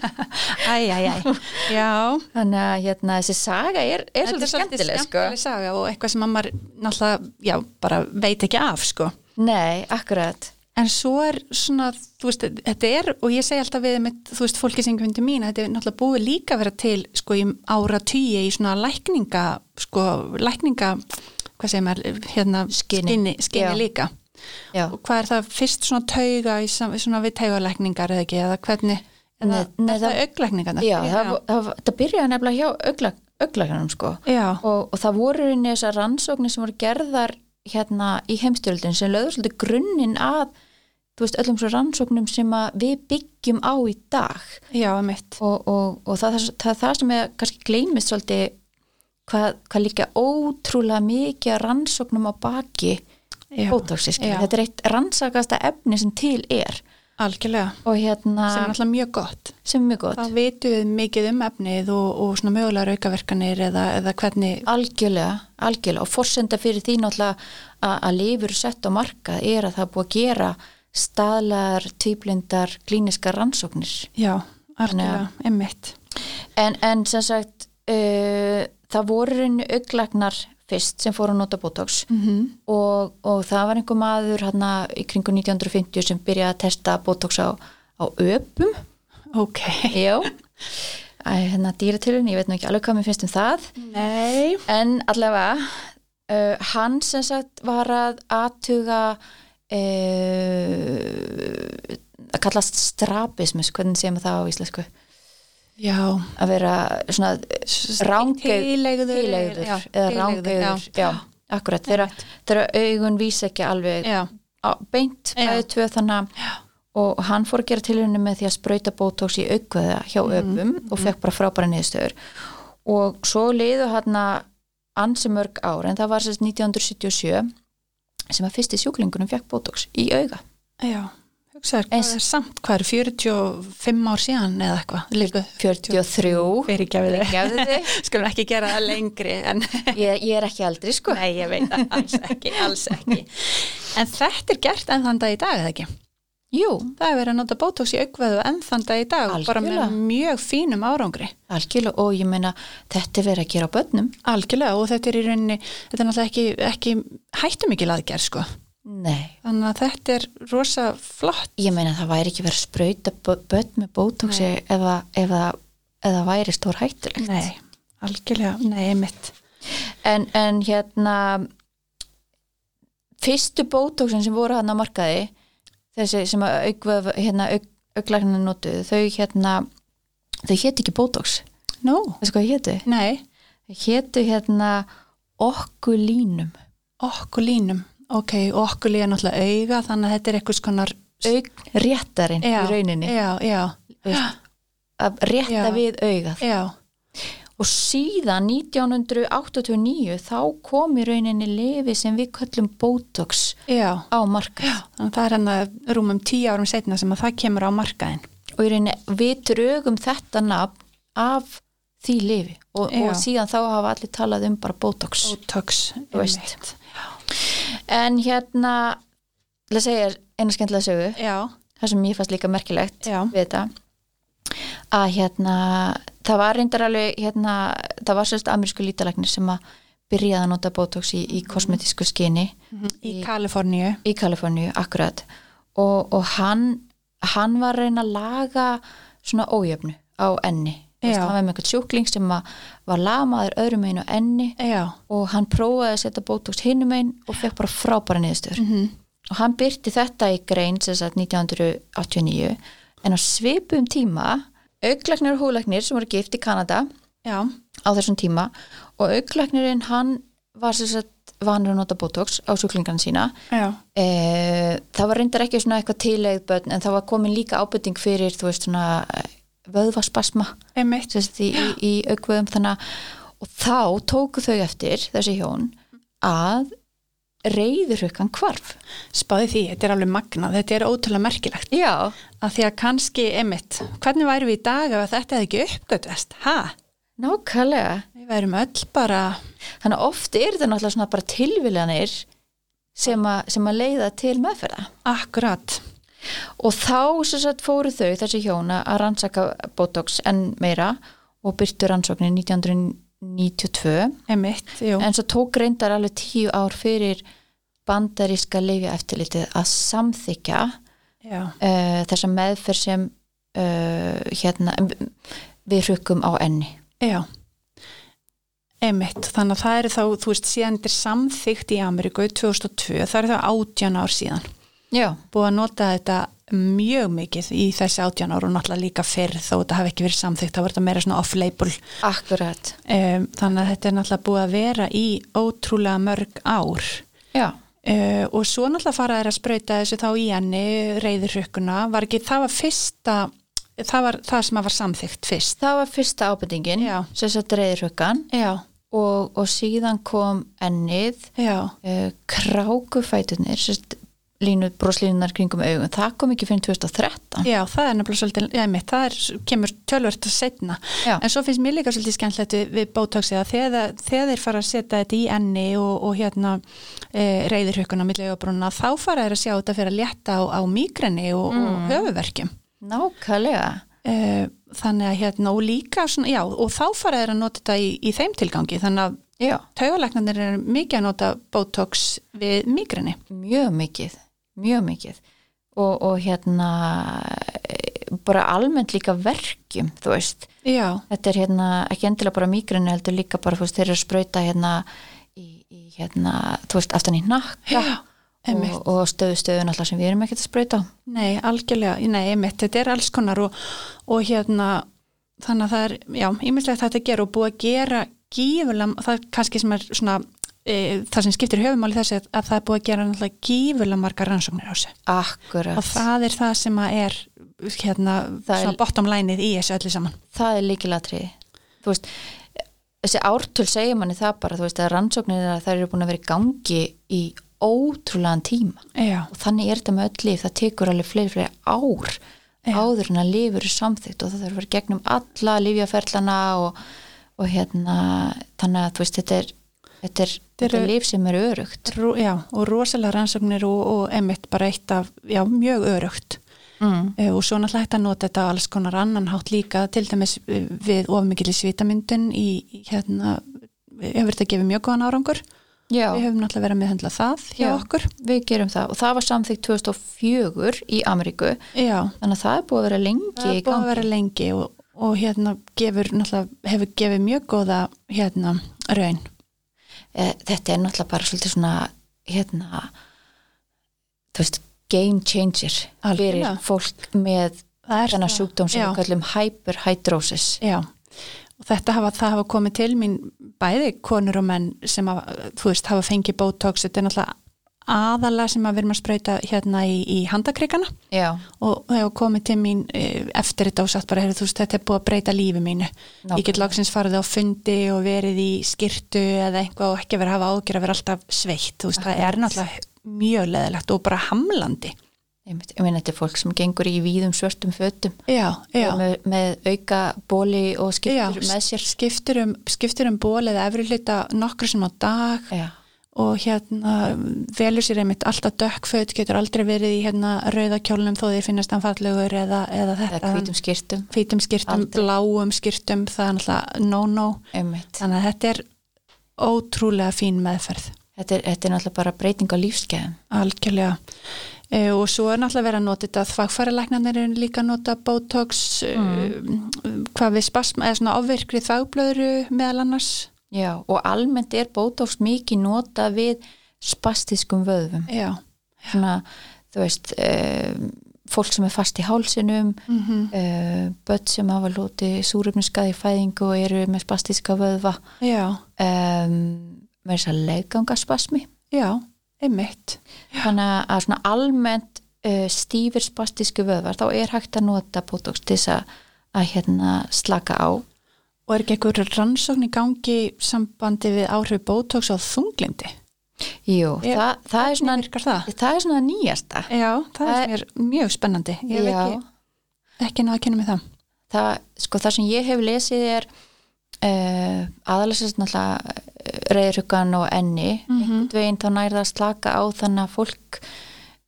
Speaker 1: [laughs]
Speaker 2: æ, æ, æ, já.
Speaker 1: þannig að hérna, þessi saga er, er svolítið skemmtileg sko.
Speaker 2: skemmtileg saga og eitthvað sem að maður náttúrulega, já, bara veit ekki af, sko.
Speaker 1: nei, akkurat
Speaker 2: En svo er svona, þú veist, þetta er, og ég segi alltaf við, með, þú veist, fólki sem kvindu mín, að þetta er náttúrulega búið líka að vera til, sko, í ára tíu í svona lækninga, sko, lækninga, hvað segir maður, hérna,
Speaker 1: Skyni.
Speaker 2: skinni,
Speaker 1: Já.
Speaker 2: líka.
Speaker 1: Já.
Speaker 2: Og hvað er það fyrst svona tauga í sam, svona við taugalækningar eða ekki, eða hvernig, eða,
Speaker 1: Nei, nei,
Speaker 2: er það
Speaker 1: það-
Speaker 2: auglækningarna?
Speaker 1: Já, það, það, það byrjaði nefnilega hjá auglaganum sko
Speaker 2: Já,
Speaker 1: og, og það voru inn í þessar rannsóknir sem voru gerðar hérna í heimstyrjöldin sem löður svolítið grunninn að þú veist, öllum svo rannsóknum sem að við byggjum á í dag
Speaker 2: já, mitt.
Speaker 1: og, og, og það, það, það, það sem er kannski gleymist svolítið hvað, hvað líka ótrúlega mikið af rannsóknum á baki
Speaker 2: Já,
Speaker 1: bótóksísk,
Speaker 2: Já.
Speaker 1: þetta er eitt rannsakasta efni sem til er
Speaker 2: algjörlega,
Speaker 1: og hérna,
Speaker 2: sem er alltaf mjög gott.
Speaker 1: sem er mjög gott
Speaker 2: Það vitum við mikið um efnið og, og svona mögulegar aukaverkanir eða, eða hvernig,
Speaker 1: algjörlega, algjörlega og forsenda fyrir því náttúrulega a- að lifur sett á markað er að það er búið að gera staðlar, tvíblindar, klíniskar rannsóknir.
Speaker 2: já, algjörlega, emmitt.
Speaker 1: En, en sem sagt, uh, það voru reyni auglagnar fyrst sem fóru að nota botox
Speaker 2: Mm -hmm.
Speaker 1: og, og það var einhver maður hana, í kringu 1950 sem byrjaði að testa botox á, á öpum.
Speaker 2: Ok.
Speaker 1: Já, Æ, hérna dýratilun, ég veit nú ekki alveg hvað mér finnst um það.
Speaker 2: Nei.
Speaker 1: En allavega, uh, hann sem sagt var að aðtuga uh, að kallast strabismus, hvernig segir maður það á íslensku?
Speaker 2: Já.
Speaker 1: Að vera svona rángauður,
Speaker 2: Tílegður.
Speaker 1: eða rángauður, já, akkurat, þeirra, þeirra augun vísa ekki alveg
Speaker 2: Já,
Speaker 1: á, beint
Speaker 2: Já.
Speaker 1: bæði tvö þannig að og hann fór að gera tilhörinu með því að sprauta bótóks í aukveða hjá
Speaker 2: Mhm,
Speaker 1: öpum og fekk bara frábæra niðurstöður og svo leiðu hann ansi mörg ár en það var sérst 1977 sem að fyrsti sjúklingunum fekk bótóks í auga
Speaker 2: já. Hugsaður,
Speaker 1: Eins-
Speaker 2: hvað er samt, hvað er 45 ár síðan eða eitthvað? Líku,
Speaker 1: 43
Speaker 2: fyrir ekki að við þig.
Speaker 1: Gefðu þig.
Speaker 2: [laughs] Skulum ekki gera það lengri en...
Speaker 1: ég, ég er ekki aldrei sko
Speaker 2: Nei, ég veit það alls ekki, alls ekki. En þetta er gert en þann dag í dag, eða ekki?
Speaker 1: Jú,
Speaker 2: Það er verið að nota bótóks í aukveðu enn þann dag í dag, bara
Speaker 1: Algjörlega.
Speaker 2: með mjög fínum árangri.
Speaker 1: algjörlega og ég meina þetta er verið að gera á börnum.
Speaker 2: Algjörlega og þetta er í rauninni, þetta er náttúrulega ekki, ekki hættumikil aðgerð sko.
Speaker 1: Nei,
Speaker 2: Þannig að þetta er rosa flott.
Speaker 1: ég meina það væri ekki verið að sprauta bö- börn með bótóksi ef það- ef það- ef það væri stór hættulegt.
Speaker 2: Nei, algjörlega, nei, mitt.
Speaker 1: En, en hérna, fyrstu bótóksin sem voru hann á markaði, þessi sem að aukvöf, hérna, auk, auklæknir notuðu, þau hérna, þau hétu ekki bótóks.
Speaker 2: Nú,
Speaker 1: Þessu hvað þau hétu?
Speaker 2: nei,
Speaker 1: Þau hétu hérna okkulínum.
Speaker 2: okkur línum. Ok, okkur líka náttúrulega auga, þannig að þetta er eitthvað skonar...
Speaker 1: Auk réttarinn í rauninni.
Speaker 2: Já, já,
Speaker 1: Að rétta
Speaker 2: Já.
Speaker 1: við augað.
Speaker 2: já,
Speaker 1: Og síðan 1989 þá kom í rauninni lifi sem við köllum bótóks
Speaker 2: já.
Speaker 1: á markað.
Speaker 2: Þannig að það er hann að rúmum tíu árum setna sem að það kemur á markaðin.
Speaker 1: og í rauninni við drögum þetta nafn af því lifi og,
Speaker 2: Já.
Speaker 1: og síðan þá hafa allir talað um bara botox
Speaker 2: Botox,
Speaker 1: Þú veist. en hérna til að segja þér eina skemmtilega sögu
Speaker 2: Já,
Speaker 1: það sem ég fannst líka merkilegt
Speaker 2: Já.
Speaker 1: við þetta að hérna það var reyndar alveg hérna, það var sérst amerísku lítalagnir sem að byrjaði að nota botox í, í kosmetísku skinni
Speaker 2: Mm. í Kaliforníu.
Speaker 1: í Kaliforníu, akkurat og, og hann, hann var að reyna að laga svona ójöfnu á enni Þú veist,
Speaker 2: Já.
Speaker 1: hann var með einhvern sjúkling sem að var lamaður öðrum einu á enni
Speaker 2: Já,
Speaker 1: og hann prófaði að setja bótóks hinum einn og fekk bara frábæra niðurstöður og hann byrti þetta í grein sem sagt 1989 en á svipum tíma auglæknir og húlæknir sem voru gift í Kanada
Speaker 2: já,
Speaker 1: á þessum tíma og auglæknirinn hann var sem sagt vanur að nota bótóks á sjúklingan sína
Speaker 2: já,
Speaker 1: Eh, það var reyndar ekki svona eitthvað tilegð börn en það var komin líka ábyrting fyrir þú veist svona eh, vöðvaspasma
Speaker 2: einmitt.
Speaker 1: sérst, í, í, í aukvöðum þannig að- og þá tóku þau eftir þessi hjón að reyðurhuggan hvarf
Speaker 2: Spáði því, þetta er alveg magnað, þetta er ótrúlega merkilegt.
Speaker 1: Já,
Speaker 2: Að því að kannski, einmitt, hvernig værum við í dag ef að þetta hefði ekki uppgötvest? Ha?
Speaker 1: nákvæmlega
Speaker 2: Við værum öll bara,
Speaker 1: þannig að oft er það náttúrulega svona bara tilviljanir sem, a, sem að leiða til meðferða
Speaker 2: akkurat,
Speaker 1: og þá sem sagt fóru þau þessi hjóna að rannsaka botox enn meira og byrtu rannsóknin 1992
Speaker 2: einmitt, jú.
Speaker 1: En svo tók reyndar alveg tíu ár fyrir bandaríska leifja eftirlitið að samþykja
Speaker 2: já,
Speaker 1: uh, þessa meðferð sem uh, hérna, við rukkum á enni.
Speaker 2: já. Einmitt, þannig að það eru þá, þú veist, síðan þetta er samþykkt í Ameríku 2002, það eru þá 18 ár síðan.
Speaker 1: Já,
Speaker 2: Búið að nota þetta mjög mikið í þessi 18 ár og náttúrulega líka fyrr þó þetta hafi ekki verið samþykkt, þá var þetta meira svona off-label
Speaker 1: akkurat.
Speaker 2: Um, þannig að þetta er náttúrulega búið að vera í ótrúlega mörg ár
Speaker 1: Já,
Speaker 2: uh, og svo náttúrulega fara þeir að sprauta þessu þá í henni reyðurrökkuna, var ekki, það var fyrsta, það var það sem að var samþygt fyrst.
Speaker 1: það var fyrsta ábendingin
Speaker 2: Já.
Speaker 1: sem satt reyðrukkan
Speaker 2: Já,
Speaker 1: og, og síðan kom ennið,
Speaker 2: já,
Speaker 1: uh, krákufæturnir, sérst, línu, broslínunar kringum augun. Það kom ekki fyrir 2013.
Speaker 2: já, það er nefnilega svolítið, já, mitt, það er, kemur tölvert að setna.
Speaker 1: Já.
Speaker 2: En svo finnst mér líka svolítið skemmtilegt við, við bótóksið að þegar, þegar þeir fara að setja þetta í enni og, og hérna e, reyðurhökkuna milli augabrúna þá fara þeir að sjá þetta fyrir að létta á, á migrenni og, og höfuverkjum.
Speaker 1: Nákvæmlega.
Speaker 2: Eh, þannig að hérna og líka svona, já, og þá fara þeir að nota þetta í, í þeim tilgangi þannig að
Speaker 1: Já.
Speaker 2: taugalæknarnir eru mikið að nota botox við migrini
Speaker 1: mjög mikið, mjög mikið og, og hérna eh, bara almennt líka verkjum, þú veist
Speaker 2: já,
Speaker 1: þetta er hérna, ekki endilega bara migrini heldur líka bara, þú veist, þeir eru að sprauta hérna í, í hérna, þú veist, aftan í nakka
Speaker 2: Já,
Speaker 1: og,
Speaker 2: einmitt.
Speaker 1: og stöðu stöðun alltaf sem við erum ekkert að sprauta á.
Speaker 2: nei, algjörlega nei, einmitt, þetta er alls konar og, og hérna, þannig að það er já, ímislegt þetta að gera og búið að gera gífulega, það er kannski sem er svona e, það sem skiptir höfumáli þessi að, að það er búið að gera náttúrulega gífulega margar rannsóknir á þessu
Speaker 1: Akkurat,
Speaker 2: og það er það sem að er hérna,
Speaker 1: Það er-
Speaker 2: svona bottom lineið í þessu öllu saman
Speaker 1: það er líkilatriði þú veist, þessi ártöl segir manni það bara, þú veist, að rannsóknir að þær eru búin að vera í gangi í ótrúlegan tíma
Speaker 2: já,
Speaker 1: og þannig er þetta með öll líf, það tekur alveg fleiri fleiri ár áður en að lífur er samþygt og það þarf að vera gegnum alla lífjaferlana og, og hérna þannig að þú veist, þetta er þetta er, þetta er
Speaker 2: eru-
Speaker 1: líf sem er örugt
Speaker 2: Rú, já, og rosalega rannsóknir og, og emitt bara eitt af, já, mjög örugt
Speaker 1: Mm.
Speaker 2: Eh, og svo náttúrulega hægt að nota þetta á alls konar annan hátt líka til dæmis eh, við ofmikil svitamyndun í í, hérna hefur þetta gefið mjög góðan árangur
Speaker 1: Já,
Speaker 2: við höfum náttúrulega verið að meðhendla það hjá
Speaker 1: Já.
Speaker 2: okkur
Speaker 1: við gerum það og það var samþyggt 2004 í Ameríku
Speaker 2: já,
Speaker 1: þannig að það er búið að vera lengi
Speaker 2: það
Speaker 1: í
Speaker 2: er búið að
Speaker 1: gangi.
Speaker 2: vera lengi og, og hérna gefur náttúrulega hefur gefið mjög góða hérna raun
Speaker 1: Eh, Þetta er náttúrulega bara svolítið svona hérna þú veist, game changer
Speaker 2: Algjörlega.
Speaker 1: fyrir fólk með
Speaker 2: það er
Speaker 1: þennan
Speaker 2: það.
Speaker 1: sjúkdóm sem
Speaker 2: já.
Speaker 1: við kallum hyperhidrosis.
Speaker 2: Já, og þetta hafa, það hafa komið til mín bæði konur og menn sem hafa, þú veist, hafa fengið botox, þetta er náttúrulega aðalega sem að við erum að sprauta hérna í, í handakrikana
Speaker 1: Já,
Speaker 2: og það hefur komið til mín eh, eftir þetta og sagt bara, heyrðu, þú veist, þetta er búið að breyta lífi mínu.
Speaker 1: Nákvæmlega.
Speaker 2: Ég get lagsins farið á fundi og verið í skirtu eða eitthvað og ekki verið að hafa ágjör að vera alltaf sveitt, þú veist, það er náttúrulega mjög leðilegt og bara hamlandi.
Speaker 1: einmitt. ég meina þetta er fólk sem gengur í víðum svörtum fötum
Speaker 2: Já, já.
Speaker 1: og með, með auka bóli og skiptur
Speaker 2: Já,
Speaker 1: með sér.
Speaker 2: skiptir um, skiptir um ból eða efri hluta nokkru sem á dag
Speaker 1: Já,
Speaker 2: og hérna velur sér einmitt alltaf dökkföt, getur aldrei verið í hérna rauðakjólnum þó þið finnast hann fallegur eða, eða þetta.
Speaker 1: eða hvítum skýrtum,
Speaker 2: Hvítum skýrtum,
Speaker 1: Aldrei.
Speaker 2: bláum skýrtum, það er alltaf no-no.
Speaker 1: einmitt.
Speaker 2: Þannig að þetta er ótrúlega fín meðferð,
Speaker 1: Þetta er, þetta er náttúrulega bara breyting á lífskeiðum.
Speaker 2: algjörlega. E, og svo er náttúrulega verið að nota þetta að þvagfæralæknarnir eru líka að nota botox, mm. hvað við spasma, eða svona ofverkri þvagblöðru meðal annars.
Speaker 1: Já, og almennt er bótóks mikið nota við spastískum vöðvum.
Speaker 2: Já,
Speaker 1: svona, þú veist um, fólk sem er fast í hálsinum mm
Speaker 2: mhm,
Speaker 1: börn sem hafa lóti súröfniskaði í fæðingu og eru með spastíska vöðva
Speaker 2: já,
Speaker 1: um, með þess að legangaspasmi
Speaker 2: já, einmitt.
Speaker 1: þannig að svona almennt uh, stífir spastísku vöðvar þá er hægt að nota botox til þess að, að hérna slaka á
Speaker 2: Og er ekki einhver rannsókn í gangi sambandi við áhrif botox á þunglindi?
Speaker 1: Jú,
Speaker 2: Ég-
Speaker 1: það, það, er svona,
Speaker 2: Hvernig virkar það?
Speaker 1: það er svona nýjasta
Speaker 2: Já, það
Speaker 1: Það
Speaker 2: er mér mjög spennandi. Ég hef
Speaker 1: Já.
Speaker 2: ekki, ekki náða að kynna mig það.
Speaker 1: það, sko, það sem ég hef lesið er uh, aðalega náttúrulega reyðruggan og enni
Speaker 2: Mhm.
Speaker 1: mm einhvern veginn þá nærða að slaka á þannig að fólk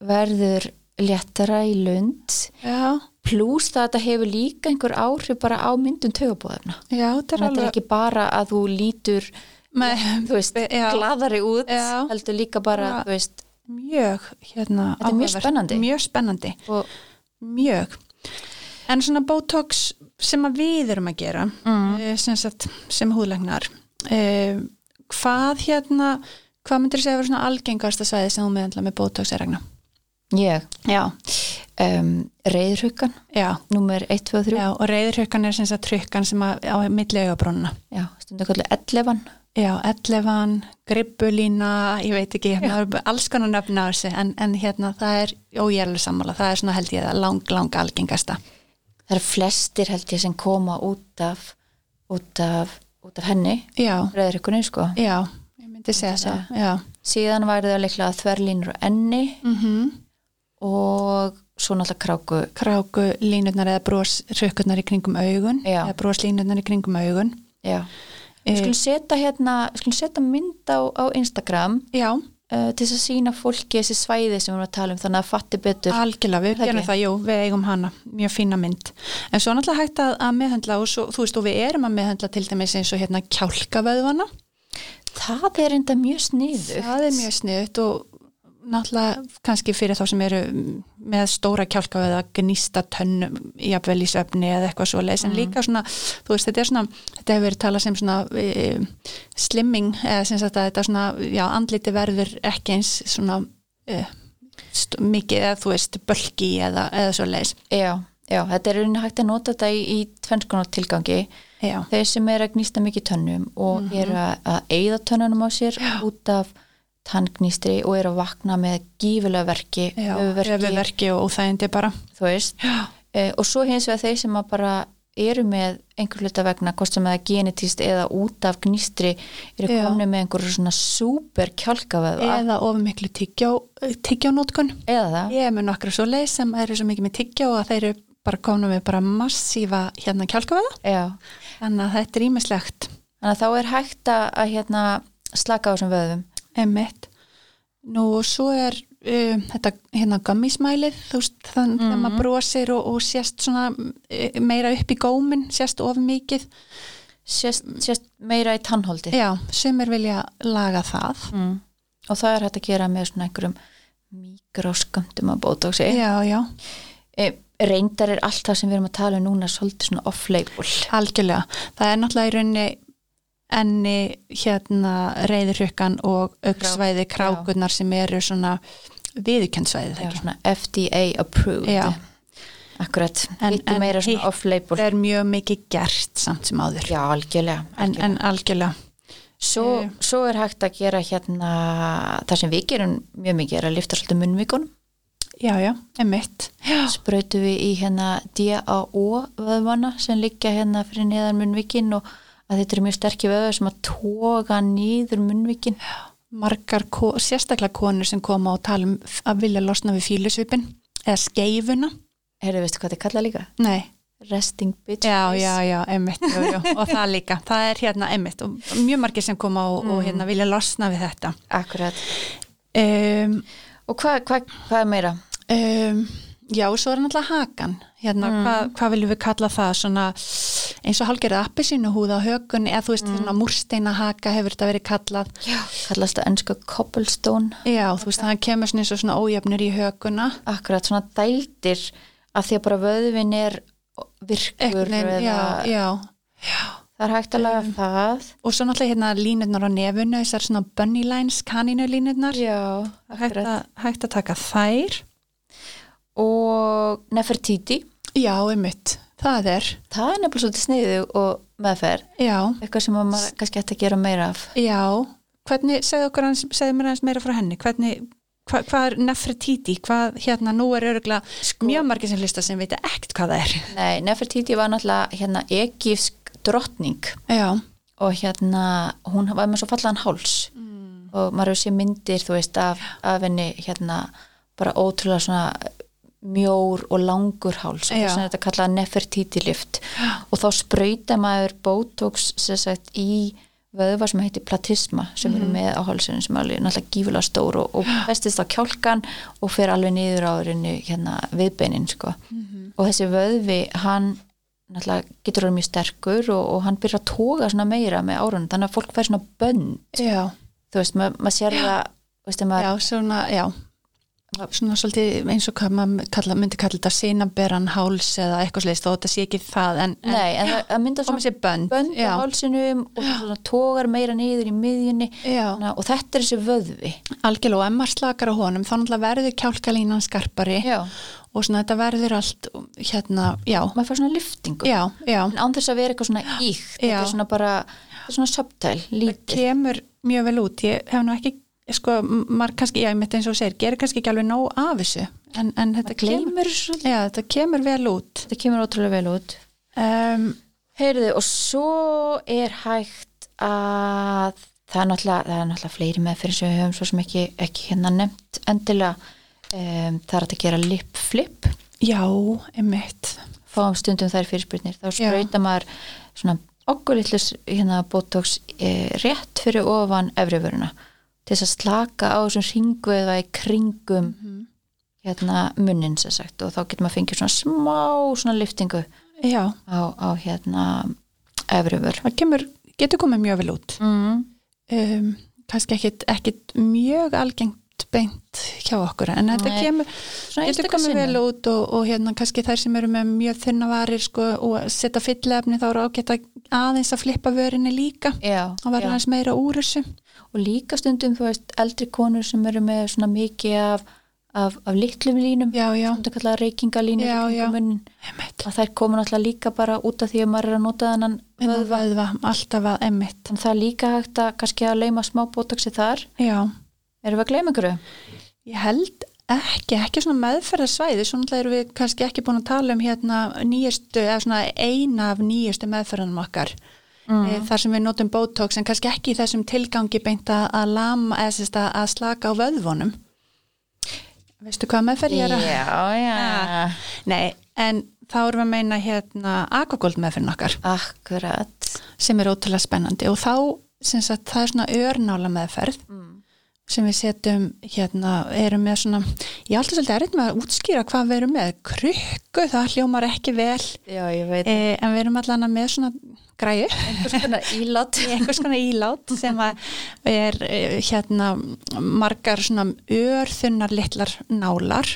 Speaker 1: verður léttara í lund
Speaker 2: Já,
Speaker 1: pluss það að þetta hefur líka einhver áhrif bara á myndun tögabóðefna
Speaker 2: já, þetta er
Speaker 1: þetta er
Speaker 2: alveg...
Speaker 1: ekki bara að þú lítur
Speaker 2: Með,
Speaker 1: þú veist,
Speaker 2: [laughs] Já.
Speaker 1: gladari út
Speaker 2: Já.
Speaker 1: heldur líka bara,
Speaker 2: Já.
Speaker 1: þú veist
Speaker 2: mjög, hérna...
Speaker 1: Þetta er mjög
Speaker 2: áhugavert.
Speaker 1: spennandi.
Speaker 2: Mjög spennandi,
Speaker 1: og,
Speaker 2: mjög. En svona botox sem að við erum að gera, mm. sem, sagt, sem húðlegnar, eh, hvað hérna, hvað myndir segja að vera svona algengasta svæði sem þú meðandla með botox er regna?
Speaker 1: ég
Speaker 2: Já,
Speaker 1: um, reyðruggan,
Speaker 2: já,
Speaker 1: númer 1, 2, 3
Speaker 2: Já, og reyðirhjökkan er sem sagt trykkan sem að, á milli augabrúnuna.
Speaker 1: já, stundu kallu 11
Speaker 2: Já, ellefan, grippulína, ég veit ekki, maður er alls konar nöfn á þessu, en, en hérna það er ójærlega sammála, það er svona held ég að lang, lang algengasta.
Speaker 1: það eru flestir held ég sem koma út af út af, út af henni
Speaker 2: Já,
Speaker 1: reyðrikunni sko
Speaker 2: já, ég myndi segja það, já.
Speaker 1: síðan væri það líklega þverlínur og enni
Speaker 2: Mm
Speaker 1: og svo náttúrulega kráku
Speaker 2: Kráku línurnar eða brosrökkurnar í kringum augun,
Speaker 1: Já.
Speaker 2: eða broslínurnar í kringum augun.
Speaker 1: já,
Speaker 2: Eh,
Speaker 1: við skulum setja hérna við skulum setja mynd á, á Instagram
Speaker 2: Já,
Speaker 1: uh, til þess að sína fólki þessi svæði sem við erum að tala um þannig að fatti betur
Speaker 2: Algjörlega, við
Speaker 1: Það
Speaker 2: gerum
Speaker 1: ekki?
Speaker 2: það, jú, við eigum hana, mjög fína mynd. En svo er náttúrulega hægt að, að meðhendla og svo, þú veist, og við erum að meðhendla til dæmis eins og hérna kjálkavöðvana.
Speaker 1: það er enda mjög sniðu
Speaker 2: Það er mjög sniðut og náttúrulega kannski fyrir þá sem eru með stóra kjálkavöða, gnýsta tönnum, jafnvel í söfni eða eitthvað svo leis. En líka svona, þú veist, þetta er svona, þetta hefur verið talað sem svona e, slimming, eða sem sagt að þetta svona, já, andliti verður ekki eins svona e, st mikið eða þú veist, bölki eða, eða svo leis.
Speaker 1: já, já, þetta er í rauninni hægt að nota þetta í, í tvennskonar tilgangi
Speaker 2: Já.
Speaker 1: þeir sem er að gnýsta mikið tönnum og
Speaker 2: Mhm.
Speaker 1: eru að- að eigða tönnunum á sér út af tanngnístri og eru að vakna með gífulega verki,
Speaker 2: Já,
Speaker 1: höfuðverki,
Speaker 2: höfuverki og óþægindi bara.
Speaker 1: þú veist
Speaker 2: Já,
Speaker 1: e, og svo hins vegar þeir sem að bara eru með einhver hluta vegna, hvort sem það er genetist eða út af gnýstri eru
Speaker 2: Já.
Speaker 1: komni með einhverju svona super kjálkaveða
Speaker 2: eða of miklu tyggjó, e, tyggjónótkun.
Speaker 1: eða það
Speaker 2: Ég er með nokkra svo leið sem eru svo mikið með tyggjó og þeir eru bara komna með bara massífa hérna kjálkaveða.
Speaker 1: já.
Speaker 2: Þannig að þetta er ímislegt.
Speaker 1: þannig að þá er hægt að, að hérna, slaka á þessum vöðum
Speaker 2: Emmett. Nú og svo er eh, um, þetta hérna gummismælið, þú veist, þann, þegar maður brosir og, og sérst svona eh, meira upp í gómin, sérst of mikið.
Speaker 1: sést, sést meira í tannholdi
Speaker 2: Mm. Já, sumir vilja laga það.
Speaker 1: mm. og það er hægt að gera með svona einhverjum mikrosköndum að bótóksi
Speaker 2: Já, já,
Speaker 1: e, eh. reyndar er allt það sem við erum að tala um núna svolítið svona off-label
Speaker 2: algjörlega. Það er náttúrulega í rauninni enni hérna reyðurhjukkan og auksvæði
Speaker 1: Krák- já.
Speaker 2: krákurnar sem eru svona viðurkennsvæði þegar.
Speaker 1: svona FDA approved
Speaker 2: Já.
Speaker 1: akkurat,
Speaker 2: En-
Speaker 1: hittu
Speaker 2: en
Speaker 1: meira svona
Speaker 2: hitt
Speaker 1: off-label
Speaker 2: Það er mjög mikið gert samt sem áður.
Speaker 1: já, algjörlega,
Speaker 2: En,
Speaker 1: algjörlega.
Speaker 2: en algjörlega,
Speaker 1: svo,
Speaker 2: eh.
Speaker 1: svo er hægt að gera hérna það sem við gerum mjög mikið er að lifta svolítið munnvíkunum
Speaker 2: já, já, emitt. Já,
Speaker 1: sprautum við í hérna DAO vöðvana sem liggja hérna fyrir neðan munnvíkin og að þetta eru mjög sterkir vöðvar sem að toga nýður munnvíkin
Speaker 2: margar, ko- sérstaklega konur sem koma og tala um f- að vilja losna við fílusvipin eða skeifuna.
Speaker 1: heyrðu, veistu hvað þetta kalla líka?
Speaker 2: Nei,
Speaker 1: Resting bitch
Speaker 2: já,
Speaker 1: face.
Speaker 2: já, já, emitt, jú, jú, og það líka, það er hérna emitt og mjög margir sem koma og, og hérna vilja losna við þetta.
Speaker 1: akkurat
Speaker 2: Um,
Speaker 1: og hvað hva, hva er meira?
Speaker 2: um, já, og svo er náttúrulega hakan, hérna, hvað hva viljum við kalla það, svona eins og hálgerða appi sínu húða á hökunni eða þú veist, hérna, múrsteina haka hefur þetta verið kallað.
Speaker 1: Já. kallast það ennska cobblestone
Speaker 2: Já, þú veist, það kemur svona eins og svona ójöfnir í hökunna.
Speaker 1: akkurat svona dældir að því að bara vöðvin er virkur
Speaker 2: Ekkunin,
Speaker 1: eða
Speaker 2: já, já,
Speaker 1: það er hægt að laga það
Speaker 2: og svo náttúrulega hérna línurnar á nefunu þessar svona bunny lines, kaninu línurnar
Speaker 1: já,
Speaker 2: hægt,
Speaker 1: akkurat
Speaker 2: að- hægt að taka þær
Speaker 1: og Nefertiti,
Speaker 2: já, einmitt, það er
Speaker 1: það er nefnilega svolítið sniðu og meðferð,
Speaker 2: já,
Speaker 1: eitthvað sem að maður kannski ætti að gera meira af
Speaker 2: já hvernig, segðu okkur hans, segðu mér hans meira frá henni hvernig, hva, hvað er Nefertiti hvað, hérna, nú er öruglega
Speaker 1: Sko-
Speaker 2: mjög margir sem hlusta sem vita ekkert hvað það er
Speaker 1: Nei, Nefertiti var náttúrulega hérna egísk drottning
Speaker 2: já,
Speaker 1: og hérna hún var með svo fallan háls
Speaker 2: Mm.
Speaker 1: og maður hefur séð myndir þú veist af, af henni hérna bara ótrúlega svona mjór og langur háls og
Speaker 2: Já.
Speaker 1: þess að þetta kallað Nefertiti lift og þá sprauta maður botox sem sagt í vöðva sem heitir platisma sem eru með á hálsinu sem er alveg náttúrulega gífulega stór og, og festist á kjálkan og fer alveg niður á reynu hérna viðbeinin sko og þessi vöðvi hann náttúrulega getur orðið mjög sterkur og, og hann byrjar að toga svona meira með árunum þannig að fólk fær svona bönn
Speaker 2: já,
Speaker 1: þú veist, ma- maður sér það þú veist, ef maður,
Speaker 2: já, svona, já svona svolítið eins og hvað maður kalla, myndi kalla þetta sinaberan háls eða eitthvað sliðist þó þetta sé ekki það en, en
Speaker 1: nei, en það, það mynda
Speaker 2: koma
Speaker 1: svona
Speaker 2: sér bönd
Speaker 1: bönn á
Speaker 2: já,
Speaker 1: hálsinum og svona togar meira niður í miðjunni
Speaker 2: já.
Speaker 1: Þannig, að- og þetta er þessi vöðvi
Speaker 2: Algjörlega, og ef maður slakar á honum þá náttúrulega verður kjálkalínan skarpari
Speaker 1: já,
Speaker 2: og svona þetta verður allt hérna, já,
Speaker 1: maður fær svona liftingu
Speaker 2: já, já
Speaker 1: en án þess að vera eitthvað svona íkt þetta
Speaker 2: Já.
Speaker 1: er svona bara, þetta er svona subtile lítið,
Speaker 2: kemur mjög vel út, ég hef nú ekki sko, m- maður kannski, já, ég mitt eins og þú segir gerir kannski ekki alveg nóg af þessu en, en þetta,
Speaker 1: maður
Speaker 2: kemur,
Speaker 1: gleymur svo
Speaker 2: já, þetta kemur vel út
Speaker 1: þetta kemur ótrúlega vel út
Speaker 2: um,
Speaker 1: Heyrðu, og svo er hægt að það er náttúrulega, það er náttúrulega fleiri meðferðir sem við höfum svo sem ekki, ekki hérna nefnt endilega um, það er hægt að gera lip flip
Speaker 2: Já, emitt
Speaker 1: fáum stundum þær fyrirspurnir þá
Speaker 2: Já.
Speaker 1: sprauta maður svona okkur litlus hérna botox e, rétt fyrir ofan efrivöruna til þess að slaka á þessum ringveða í kringum hérna munnin sem sagt og þá getur maður fengið svona smá svona liftingu
Speaker 2: Já,
Speaker 1: á, á hérna efrivör
Speaker 2: það kemur, getur komið mjög vel út
Speaker 1: mm.
Speaker 2: um, kannski ekkit, ekkit mjög algengt beint hjá okkur en þetta
Speaker 1: Nei.
Speaker 2: kemur
Speaker 1: svona
Speaker 2: Getur
Speaker 1: einstaka
Speaker 2: komið
Speaker 1: sinnum.
Speaker 2: vel út og, og hérna kannski þær sem eru með mjög þunna varir sko, og setja fyllefni þá eru ágætt að aðeins að flippa vörinni líka
Speaker 1: já,
Speaker 2: og
Speaker 1: já.
Speaker 2: verða aðeins meira úr þessu.
Speaker 1: og líka stundum þú veist eldri konur sem eru með svona mikið af, af, af litlum línum
Speaker 2: Já, já,
Speaker 1: þetta kallaða reykingalínur
Speaker 2: Já,
Speaker 1: í kringum
Speaker 2: já.
Speaker 1: munninn.
Speaker 2: emmitt.
Speaker 1: að þær koma náttúrulega líka bara út af því að maður er að nota þennan
Speaker 2: Vöðva, vöðva, alltaf að emmitt.
Speaker 1: þannig það er líka hægt að kannski að lauma smá botoxi þar
Speaker 2: Já,
Speaker 1: erum við að gleyma einhverju?
Speaker 2: ég held ekki, ekki svona meðferðarsvæði, svona náttúrulega erum við kannski ekki búin að tala um hérna nýjastu, eða svona eina af nýjastu meðferðanum okkar. Mm. Þar sem við notum botox en kannski ekki í þessum tilgangi beint að, að lama eða sérst að, að slaka á vöðvonum. Veistu hvað meðferð ég er að...
Speaker 1: já
Speaker 2: Ah. Nei, en þá erum við að meina hérna akvagold meðferðin okkar
Speaker 1: akkurat
Speaker 2: sem er ótrúlega spennandi og þá sem sagt það er svona örnála meðferð sem við setjum hérna, erum með svona, ég er alltaf svolítið erinn með að útskýra hvað við erum með, krukku, það hljómar ekki vel,
Speaker 1: Já, ég veit.
Speaker 2: e, en við erum allan með svona græju,
Speaker 1: [laughs] Einhvers konar ílát.
Speaker 2: einhvers konar ílát sem að er e, hérna margar svona örþunnar litlar nálar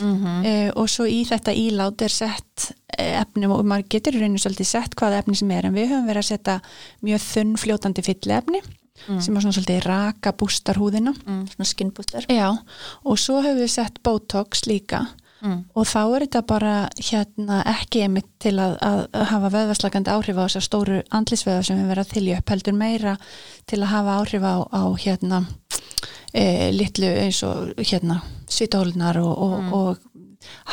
Speaker 1: Mm -hmm.
Speaker 2: e, og svo í þetta ílát er sett e, efnum og maður getur í rauninu svolítið sett hvaða efni sem er, en við höfum verið að setja mjög þunn fljótandi fyllefni sem er svona svolítið raka bústar húðina.
Speaker 1: Mm, svona skinnbústar.
Speaker 2: Já, og svo höfum við sett Botox líka
Speaker 1: Mm.
Speaker 2: og þá er þetta bara hérna, ekki einmitt til að, að hafa veðvarslagandi áhrif á þessar stóru andlisveðar sem við verðum að þylja upp heldur meira til að hafa áhrif á, á hérna, e, litlu eins og hérna, svítahólunar og, og, og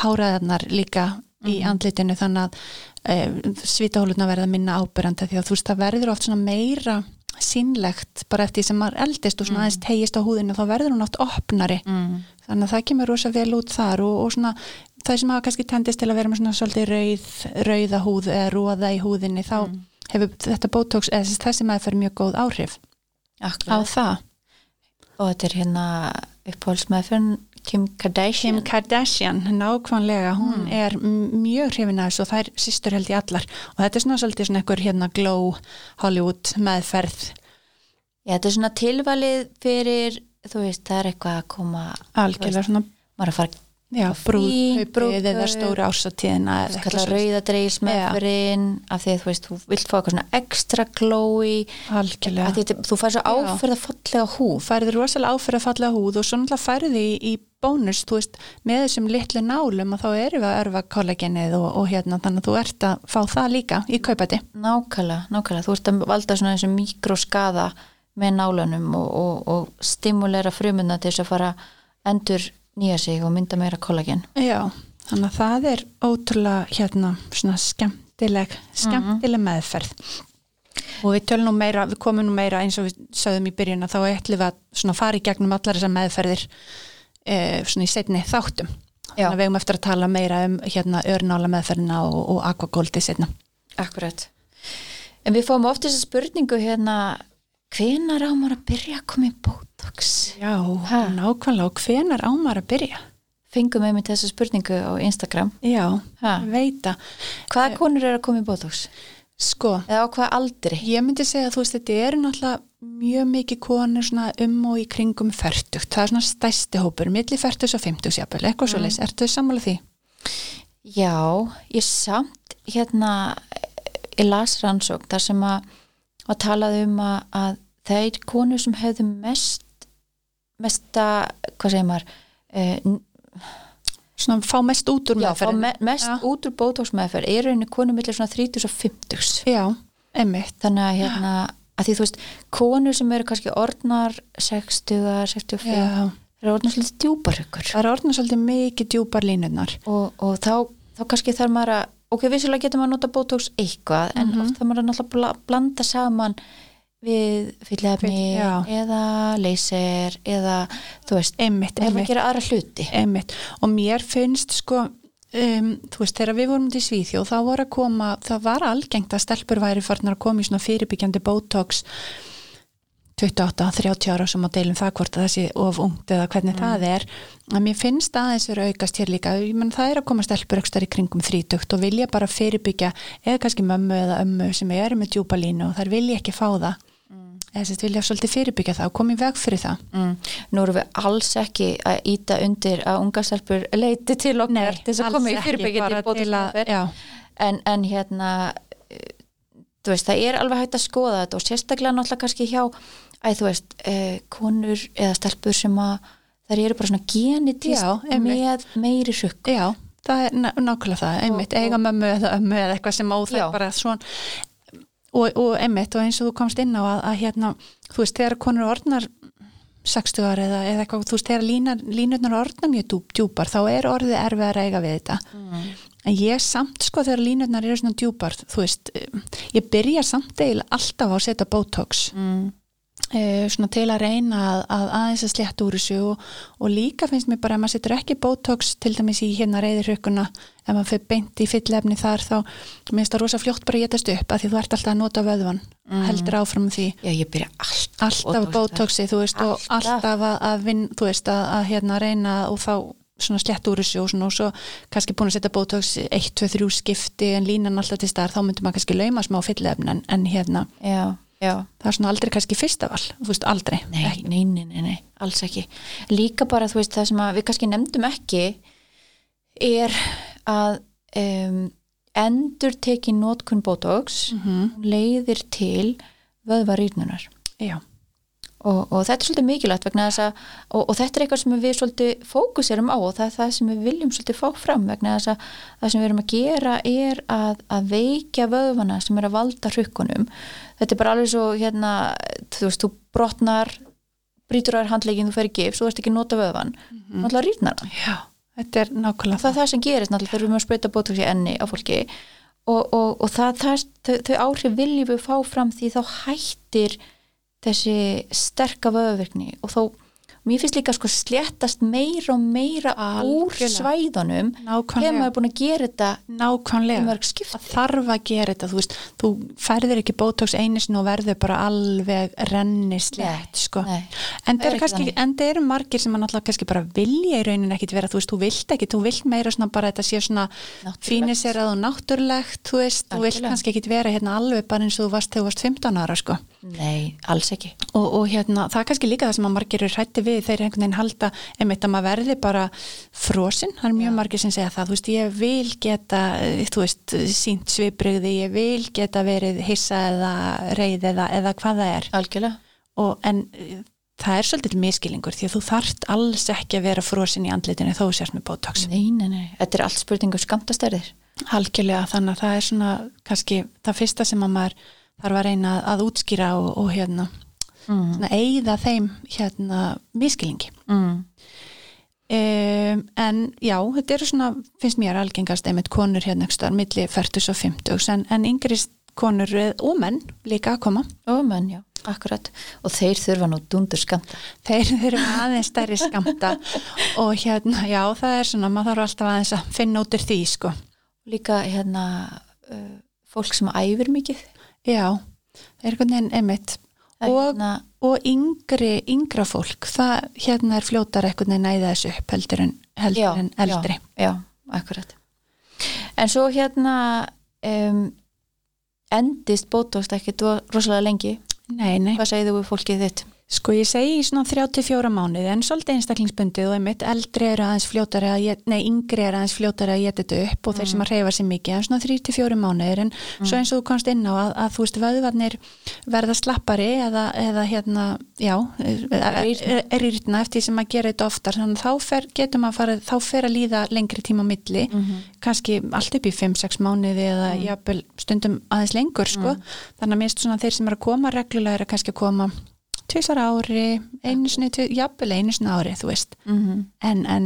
Speaker 2: háræðarnar líka í andlitinu þannig að e, svítahólunar verða minna ábyrrandi því að þú veist það verður oft svona meira sínlegt bara eftir því sem maður eldist og svona aðeins tegist á húðinu þá verður hún oft opnari
Speaker 1: Mm.
Speaker 2: þannig að það kemur rosa vel út þar og, og svona það sem hafa kannski tendist til að vera með svona svolítið rauð, rauða húð eða róða í húðinni þá hefur þetta botox eða þessi- þessi maður fyrir mjög góð áhrif á
Speaker 1: Akkurat.
Speaker 2: það.
Speaker 1: Og þetta er hérna upphólsmeðferðin Kim Kardashian.
Speaker 2: Kim Kardashian, nákvæmlega, hún er m- mjög hrifin af þessu og það er sýstur held í allar og þetta er svona svolítið svona einhver hérna glow Hollywood meðferð
Speaker 1: Já, þetta er svona tilvalið fyrir, þú veist, það er eitthvað að koma,
Speaker 2: algjörlega svona
Speaker 1: maður að fara
Speaker 2: já,
Speaker 1: fín,
Speaker 2: brúðkaupið eða
Speaker 1: brúðkaup.
Speaker 2: stóra ásatíðina eða
Speaker 1: skalla
Speaker 2: eitthvað
Speaker 1: rauða dregismefurinn af því að þú veist, þú vilt fá eitthvað svona extra glowy,
Speaker 2: svo- algjörlega
Speaker 1: af því að þú fær svo áferða fallega húð.
Speaker 2: færið rosalega áfyrir að falla húð og svo náttúrulega færið í, í bónus, þú veist, með þessum litlu nálum að þá erum við að örfa kollagenið og, og hérna, þannig að þú ert að fá það líka í kaupati.
Speaker 1: Nákvæmlega, nákvæmlega, þú ert að valda svona þessu mikroskaða með nálunum og, og, og stimulera frumuna til þess að fara endur nýja sig og mynda meira kollagen.
Speaker 2: Já, þannig að það er ótrúlega hérna, svona skemmtileg, skemmtileg meðferð. Og við tölum nú meira, við komum nú meira eins og við sögðum í byrjun að þá ætlum við að svona fara í gegnum allar þessar meðferðir eh, svona í setni þáttum.
Speaker 1: Já.
Speaker 2: Þannig að við eigum eftir að tala meira um hérna örnála meðferðina og, og aquagoldi setna.
Speaker 1: Akkurat. En við fáum oft þessa spurningu hérna, hvenar á maður að byrja að koma í botox?
Speaker 2: Já,
Speaker 1: Ha?
Speaker 2: nákvæmlega og hvenar á maður að byrja?
Speaker 1: Fengum einmitt þessa spurningu á Instagram.
Speaker 2: Já,
Speaker 1: Ha?
Speaker 2: veita.
Speaker 1: Hvaða konur eru að koma í botox?
Speaker 2: Sko,
Speaker 1: Eða á hvaða aldri?
Speaker 2: ég myndi segja að þú veist þetta eru náttúrulega mjög mikið konur svona um og í kringum færtugt. Það er svona stæsti hópur, milli færtugs og fymtugs jafnvel, eitthvað mm. svo leys. Ertu sammála því?
Speaker 1: Já, ég samt hérna ég las rannsókn þar sem að, að talaði um að, að þeir konur sem hefðu mest mesta, hvað segir maður eh,
Speaker 2: Svona fá mest út úr
Speaker 1: já, fá
Speaker 2: meðferðinni.
Speaker 1: me, mest
Speaker 2: Já.
Speaker 1: út úr botox meðferð eru einu konur millir svona 30 og 50
Speaker 2: Já, emmitt.
Speaker 1: þannig að hérna að því þú veist, konur sem eru kannski orðnar 60, 65
Speaker 2: Já,
Speaker 1: eru orðnar svolítið djúparhugur
Speaker 2: það er orðin svolítið mikið djúpar línurnar.
Speaker 1: og, og þá, þá kannski þarf maður að ok, vissulega getur maður að nota botox eitthvað en
Speaker 2: Mhm.
Speaker 1: oft þarf maður að náttúrulega bla- blanda saman við fyllefni
Speaker 2: Fyll- já.
Speaker 1: eða leyser eða þú veist,
Speaker 2: Emmitt,
Speaker 1: ef maður
Speaker 2: emmitt.
Speaker 1: gera aðra hluti
Speaker 2: Einmitt. Og mér finnst sko, um, þú veist, þegar við vorum til Svíþjóð, þá voru að koma, það var algengt að stelpur væri farnar að koma í svona fyrirbyggjandi botox 28-30 ára sem að deilum það hvort að það sé of ungt eða hvernig
Speaker 1: Mm.
Speaker 2: það er að mér finnst aðeins vera aukast hér líka ég menn það er að koma stelpur aukstar í kringum þrítugt og vilja bara fyrirbyggja eða kannski mömmu eða ömmu sem eru með djúpa línu og þar vilja ekki fá það eða sérst vilja svolítið fyrirbyggja það og koma í veg fyrir það
Speaker 1: mm. nú erum við alls ekki að íta undir að unga stelpur leiti til okkar
Speaker 2: Nei,
Speaker 1: til þess að
Speaker 2: alls
Speaker 1: koma í
Speaker 2: ekki, bara
Speaker 1: fyrirbyggjandi
Speaker 2: til að-
Speaker 1: botox
Speaker 2: já.
Speaker 1: en, en hérna eh, þú veist, það er alveg hægt að skoða þetta og sérstaklega náttúrulega kannski hjá að þú veist, eh, konur eða stelpur sem að þær eru bara svona
Speaker 2: Já,
Speaker 1: genetist
Speaker 2: einmitt.
Speaker 1: með meiri sjökk
Speaker 2: Já, það er ná- nákvæmlega það, einmitt, eiga mömmu eða ömmu eða eitthvað sem óþægt
Speaker 1: Já.
Speaker 2: bara svona og, og einmitt og eins og þú komst inn á að, að hérna, þú veist, þegar konur orðnar 60 ára eða, eða eitthvað, þú veist, þegar línar, línurnar orðnar mjög djúp, djúpar, þá er orðið erfið að reyga við þetta. En ég samt, sko, þegar línurnar eru svona djúpar, þú veist, um, ég byrja samt eil alltaf á að setja botox
Speaker 1: mm.
Speaker 2: eh, svona til að reyna að, að aðeins að slétta úr þessu og, og líka finnst mér bara að maður setur ekki botox til dæmis í hérna reyðirhökkuna ef maður fyrir beint í fyllefni þar þá minnst það rosa fljótt bara að getast upp að því þú ert alltaf að nota vöðvan heldur áfram því
Speaker 1: Já, ég byrja alltaf
Speaker 2: alltaf bótóksi, þú veist, og alltaf að, að vinn, þú veist, að, að hérna reyna og fá svona slett úr þessu og svona og svo kannski búin að setja bótóks 1, 2, 3 skipti en línan alltaf til staðar, þá myndum maður kannski lauma smá fyllefn en, en hérna,
Speaker 1: já, já
Speaker 2: það er svona aldrei kannski fyrsta val, þú veist, aldrei.
Speaker 1: Nei, nei, nei, nei, nei, alls ekki. Líka bara þú veist það sem að við kannski nefndum ekki er að um, endur teki nótkun botox hún leiðir til vöðvarýrnunar
Speaker 2: Já,
Speaker 1: og, og þetta er svolítið mikilvægt vegna þess að og, og þetta er eitthvað sem við svolítið fókusirum á og það er það sem við viljum svolítið fá fram vegna þess að það sem við erum að gera er að, að veikja vöðvana sem er að valda hrukkunum þetta er bara alveg svo hérna þú veist, þú brotnar brýtur á þér handlegin, þú fer í gifs, þú veist ekki að nota vöðvan náttúrulega rýrnar hann
Speaker 2: já, þetta er nákvæmlega
Speaker 1: það er það sem gerist náttúrulega þegar við erum að spreita botox í enni á fólki og, og, og það, það, þau, þau áhrif viljum við fá fram því þá hættir þessi sterka vöðuvirkni og þó, mér finnst líka sko sléttast meira og meira úr
Speaker 2: Algjörlega.
Speaker 1: svæðunum hefur
Speaker 2: Nákvæmlega,
Speaker 1: maður búin að gera þetta í
Speaker 2: nákvæmlega.
Speaker 1: mörg skipt
Speaker 2: Það þarf að gera þetta, þú veist, þú færðir ekki bótóks einisinn og verður bara alveg rennislegt, sko.
Speaker 1: nei,
Speaker 2: en
Speaker 1: það
Speaker 2: það
Speaker 1: er
Speaker 2: eru
Speaker 1: ekki
Speaker 2: kannski,
Speaker 1: þannig.
Speaker 2: en það eru margir sem að náttúrulega kannski bara vilja í raunin ekkit vera, þú veist, þú vilt ekki, þú vilt meira svona bara að þetta sé svona
Speaker 1: Náttúrulegt.
Speaker 2: fíniserað og náttúrulegt, þú veist, þú vilt
Speaker 1: Algjörlega.
Speaker 2: kannski ekkit vera hérna alveg bara eins og þú varst þegar þú varst 15 ára, sko.
Speaker 1: Nei, alls ekki
Speaker 2: Og, og hérna, það er kannski líka það sem að margir eru hrætti við, þeir einhvern veginn halda einmitt að maður verði bara frosinn, það er mjög margir sem segja það, þú veist, ég vil geta, eh, þú veist, sínt svipriði, ég vil geta verið hissa eða reyð eða, eða hvað það er.
Speaker 1: Algjörlega
Speaker 2: Og, en eh, það er svolítið miskilingur því að þú þarft alls ekki að vera frosinn í andlitinu þó þú sérst með botox.
Speaker 1: Nei, nei, nei, þetta er allt spurningu skamtastærðir
Speaker 2: Algjörlega, þannig að það er svona kannski það fyrsta sem að maður þarf að reyna að útskýra og, og hérna,
Speaker 1: mm.
Speaker 2: svona, eigða þeim hérna miskilingi.
Speaker 1: Mm.
Speaker 2: Um, en já, þetta eru svona, finnst mér algengast einmitt konur hérna ekki starf, milli 40 og 50, en, en yngri konur eh, og menn líka að koma.
Speaker 1: Ó, menn, já, akkurat og þeir þurfa nú dundur skamta
Speaker 2: Þeir [laughs] þeir eru með aðeins stærri skamta og hérna, já, það er svona, maður þarf alltaf aðeins að finna út úr því, sko.
Speaker 1: líka hérna uh, fólk sem æfir mikið
Speaker 2: Já, það er einhvern veginn einmitt.
Speaker 1: Það er
Speaker 2: Og-
Speaker 1: hérna,
Speaker 2: Og yngri, yngra fólk, það hérna er fljótar einhvern veginn að æða þessu upp heldur en, heldur en eldri.
Speaker 1: já, já, akkurat en svo hérna um, endist bótókst ekki rosalega lengi,
Speaker 2: Nei, nei.
Speaker 1: hvað segir þú við fólkið þitt?
Speaker 2: Sko ég segi í svona 34 mánuði en svolítið einstaklingsbundið og einmitt eldri eru aðeins fljótari að geta, nei yngri eru aðeins fljótari að geta þetta upp og þeir sem að reyfa sér mikið en svona 34 mánuðir en svo eins og þú komst inn á að, að þú veist vöðvarnir verða slappari eða, eða hérna, já,
Speaker 1: Rýrna.
Speaker 2: er- er írna e- eftir því sem að gera þetta oftar þannig að þá fer, getum að fara, þá fer að líða lengri tíma á milli kannski allt upp í 5-6 mánuði eða jafnvel stundum aðeins lengur sko. þannig að minnst svona þeir sem eru að koma reglulega eru kannski að koma tvisar ári, einu sinni, tvi- jafnvel einu sinni ári, þú veist
Speaker 1: Mm -hmm.
Speaker 2: en, en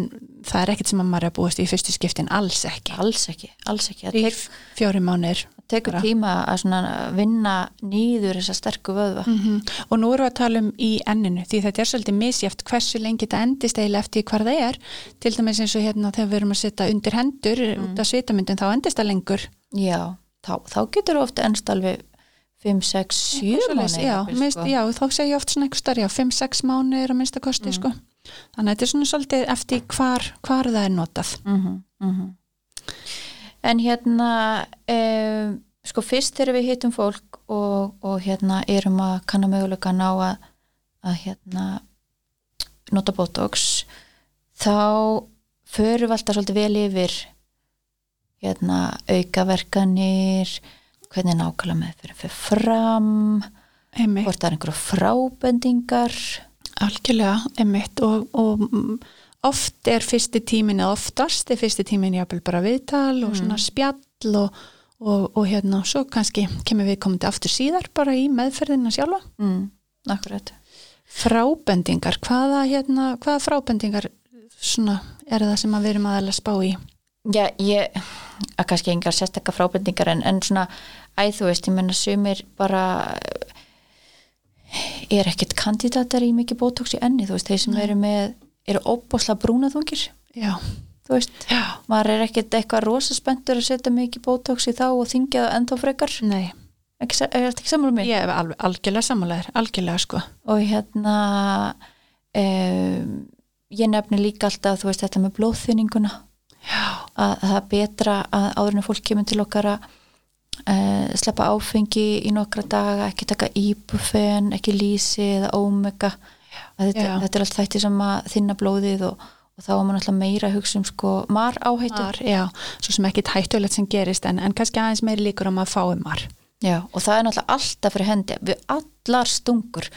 Speaker 2: það er ekkert sem að maður er að búast í fyrstu skiptin alls ekki,
Speaker 1: alls ekki, alls ekki það
Speaker 2: Þrír,
Speaker 1: tek,
Speaker 2: fjóri mánir
Speaker 1: tekur
Speaker 2: bara.
Speaker 1: tíma að svona vinna nýður þessa sterku vöðva
Speaker 2: mm og nú erum við að tala um í enninu því þetta er svolítið misjæft hversu lengi þetta endist eiginlega eftir hvar það er til dæmis eins og hérna þegar við erum að setja undir hendur út af svitamyndin þá endist það lengur
Speaker 1: já, þá, þá getur ofta ennst alveg 5, 6, 7
Speaker 2: Svoleiðis, já, minnst,
Speaker 1: sko.
Speaker 2: já, þá segi ég oft svona einhver starf, já, 5-6 mánu er að minnsta kosti, sko. Þannig að þetta er svona svolítið eftir hvar, hvar það er notað.
Speaker 1: -hmm, En hérna, um, sko fyrst þegar við hittum fólk og, og hérna erum að kanna möguleika ná að, að hérna nota botox, þá förum við alltaf svolítið vel yfir hérna aukaverkanir, hvernig nákvæmlega meðferðin fyrir fram,
Speaker 2: Einmitt,
Speaker 1: hvort það er einhverju frábendingar.
Speaker 2: algjörlega, einmitt og, og mm, oft er fyrsti tímin eða oftast er fyrsti tímin jáfnvel bara viðtal og svona spjall og, og, og hérna, svo kannski kemur við komandi aftur síðar bara í meðferðina sjálfa.
Speaker 1: Mm, akkurat.
Speaker 2: Frábendingar, hvaða, hérna, hvaða frábendingar svona er það sem að við erum aðalega spá í?
Speaker 1: Já, ég, að kannski engar sérstakka frábendingar en, en svona, æ, þú veist, ég menna sumir bara er ekkert kandidatar í mikið botox í enni, þú veist, þeir sem eru með, eru óbúslega brúnaþungir,
Speaker 2: Já,
Speaker 1: þú veist,
Speaker 2: já.
Speaker 1: maður er ekkert eitthvað rosa spenntur að setja mikið botox í þá og þingja það ennþá frekar,
Speaker 2: Nei,
Speaker 1: Ekki, sa- er þetta ekki sammála mér?
Speaker 2: Ég er alveg algjörlega sammálaður, algjörlega sko.
Speaker 1: og hérna um, ég nefni líka alltaf þú veist þetta með blóðþynninguna
Speaker 2: Já,
Speaker 1: að það er betra að áður en fólk kemur til okkar að uh, sleppa áfengi í nokkra daga ekki taka íbufen, ekki lýsi eða ómega Að þetta,
Speaker 2: Já.
Speaker 1: þetta er allt þætti sem að þinna blóðið og, og þá er mann alltaf meira að hugsa um sko mar áhættu
Speaker 2: mar, já, svo sem ekkit hættulegt sem gerist en, en kannski aðeins meiri líkur á maður fái mar.
Speaker 1: Já, og það er náttúrulega alltaf fyrir hendi við allar stungur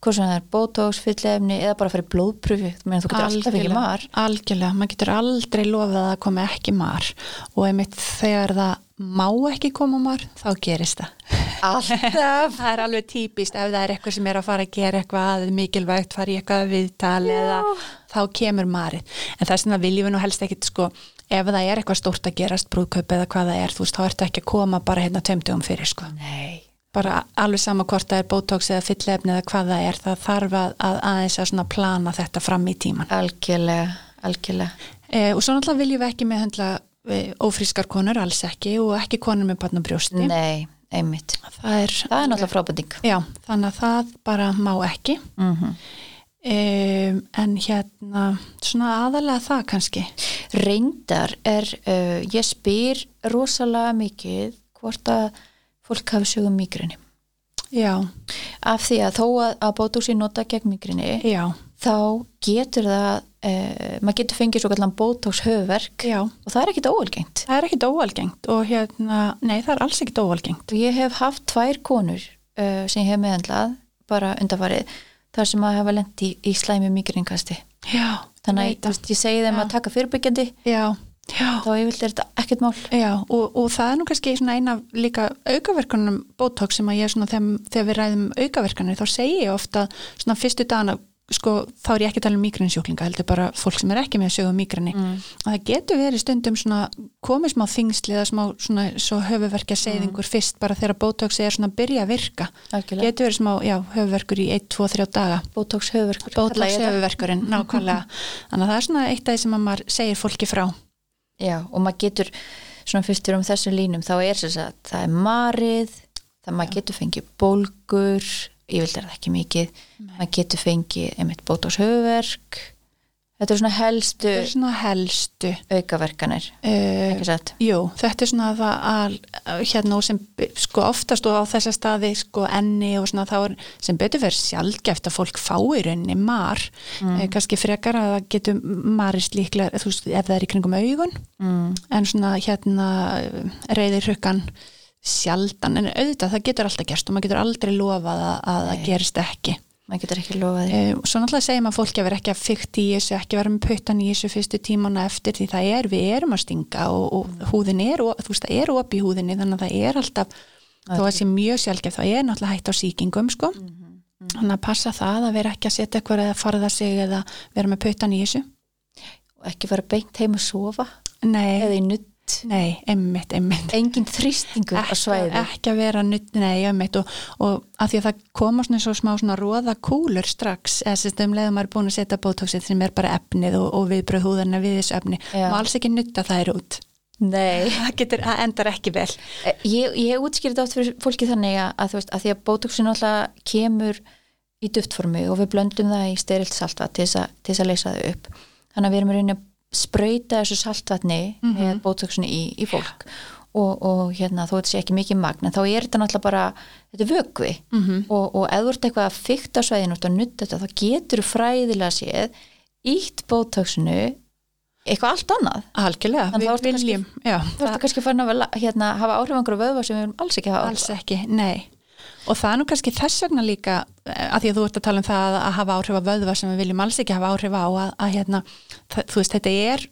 Speaker 1: hvort sem það er botox, fylliefni eða bara fyrir blóðpröfi, þú meina þú getur alltaf ekki
Speaker 2: Algjörlega,
Speaker 1: mar
Speaker 2: Algjörlega, maður getur aldrei lofað að það komi ekki mar og einmitt þegar það má ekki koma mar, þá gerist það.
Speaker 1: Alltaf
Speaker 2: [laughs] Það er alveg típist ef það er eitthvað sem er að fara að gera eitthvað mikilvægt, fara í eitthvað viðtal eða þá kemur marið. En þess vegna viljum við nú helst ekkit sko, ef það er eitthvað stórt að gerast brúðkaup eða hvað það er, þú veist, þá ertu ekki að koma bara hérna tömdugum fyrir sko.
Speaker 1: Nei,
Speaker 2: Bara alveg sama hvort það er botox eða fyllefni eða hvað það er, það þarf að, að aðeins að svona plana þetta fram í tíman.
Speaker 1: algjörlega, algjörlega
Speaker 2: Eh, og svo náttúrulega viljum við ekki meðhandla eh, ófrískar konur, alls ekki og ekki konur með barn og brjósti.
Speaker 1: Nei, einmitt
Speaker 2: Það er,
Speaker 1: Það er náttúrulega frábending
Speaker 2: já, þannig að það bara má ekki.
Speaker 1: mm
Speaker 2: Um, en hérna, svona aðalega það kannski.
Speaker 1: Reyndar er, uh, ég spyr rosalega mikið hvort að fólk hafi sögum migrini
Speaker 2: Já,
Speaker 1: af því að þó að, að botox er nota gegn migrini
Speaker 2: já,
Speaker 1: þá getur það uh, maður getur fengið svo kallan botox höfverk
Speaker 2: já.
Speaker 1: og það er ekkit óalgengt
Speaker 2: Það er ekkit óalgengt og hérna, nei það er alls ekkit óalgengt.
Speaker 1: og ég hef haft tvær konur uh, sem ég hef meðhandlað bara undarfarið þar sem að hafa lent í, í slæmi migrinkasti
Speaker 2: Já,
Speaker 1: þannig að
Speaker 2: veit
Speaker 1: þú veist, ég segi þeim
Speaker 2: Já.
Speaker 1: að taka fyrirbyggjandi
Speaker 2: Já, já.
Speaker 1: þá yfirleitt er þetta ekkert mál
Speaker 2: Já, og, og það er nú kannski svona eina af líka aukaverkunum bótók sem að ég svona þegar, þegar við ræðum aukaverkanir þá segi ég ofta svona fyrstu dagana sko þá er ég ekki að tala um migrænsjúklinga heldur bara fólk sem er ekki með að sögum migræni mm. og það getur verið stundum svona komið smá þingsli eða smá svona svo höfuverkja segðingur fyrst bara þegar bótóksi er svona að byrja að virka
Speaker 1: Mm. algjörlega,
Speaker 2: getur verið smá, já, höfuverkur í 1, 2, 3 daga
Speaker 1: botox höfverkur kalla
Speaker 2: bótóks
Speaker 1: ég þetta. [laughs]
Speaker 2: höfuverkurinn, nákvæmlega þannig að það er svona eitt af því sem að maður segir fólki frá
Speaker 1: Já, og maður getur svona fyrstur um þessum línum þá er þess að það er marið það maður getur fengið bólgur yfirleitt er það ekki mikið maður getur fengið einmitt botox höfverk þetta er svona helstu
Speaker 2: það er svona helstu
Speaker 1: aukaverkanir
Speaker 2: uh,
Speaker 1: ekki satt
Speaker 2: Jú, þetta er svona það að, að hérna og sem be- sko oftast og á þessa staði sko enni og svona þá er sem betur verið sjálfgeft að fólk fáir enni mar, mm. kannski frekar að það getur marist líklega þú veist, ef það er í kringum augun
Speaker 1: mm.
Speaker 2: en svona hérna reyðir hrukkan sjaldan en auðvitað það getur alltaf gerst og maður getur aldrei lofað að, að það gerist ekki
Speaker 1: maður getur ekki lofað því
Speaker 2: Eh, og Svo náttúrulega segjum að fólki að vera ekki að fykta í þessu, ekki vera með puttan í þessu fyrstu tímana eftir því það er, við erum að stinga og, og húðin er, og, þú veist, það er opi í húðinni þannig að það er alltaf, þó að sé mjög sjálfgef, það er náttúrulega hægt á sýkingum, sko.
Speaker 1: Mhm,
Speaker 2: Þannig að passa það að vera ekki að setja eitthvað eða farða sig eða vera með puttan í þessu.
Speaker 1: og ekki fara beint heim að sofa
Speaker 2: Nei,
Speaker 1: eða í nutt
Speaker 2: nei, einmitt, einmitt.
Speaker 1: engin þrýstingur á svæði
Speaker 2: ekki að vera nutt, nei, um eitt og, og að því að það koma svona svo smá svona róða kúlur strax, eða sérst um leiðum maður er búin að setja bótóksið sem er bara efnið og, og viðbröð húðarna við þessu efni
Speaker 1: Já.
Speaker 2: og alls ekki nutta þær út [laughs]
Speaker 1: nei
Speaker 2: það getur, það endar ekki vel
Speaker 1: Eh, Ég, ég útskýrði þetta oft fyrir fólki þannig að, að, þú veist, að því að bótuksin alltaf kemur í duftformi og við blöndum það í sterilt saltvatn til þess að- til þess að leysa það upp. Þannig að við erum í rauninni að sprauta þessu saltvatni með bótuksin í, í fólk og, og hérna, þó þetta sé ekki mikið magn en þá er þetta náttúrulega bara, þetta er vökvi
Speaker 2: Mhm.
Speaker 1: og, og ef þú ert eitthvað að fykta svæðin út að nutta þetta, þá getur fræðilega séð ítt bótuksinu eitthvað allt annað
Speaker 2: algjörlega,
Speaker 1: En þá ertu
Speaker 2: við
Speaker 1: kannski-
Speaker 2: viljum já,
Speaker 1: Þú ertu kannski farin að vel- hérna, hafa áhrif á einhverju vöðva sem við erum alls ekki að hafa áhrif á.
Speaker 2: alls ekki, nei og það er nú kannski þess vegna líka að því að þú ert að tala um það að hafa áhrif á vöðva sem við viljum alls ekki hafa áhrif á að, að hérna, það, þú veist, þetta er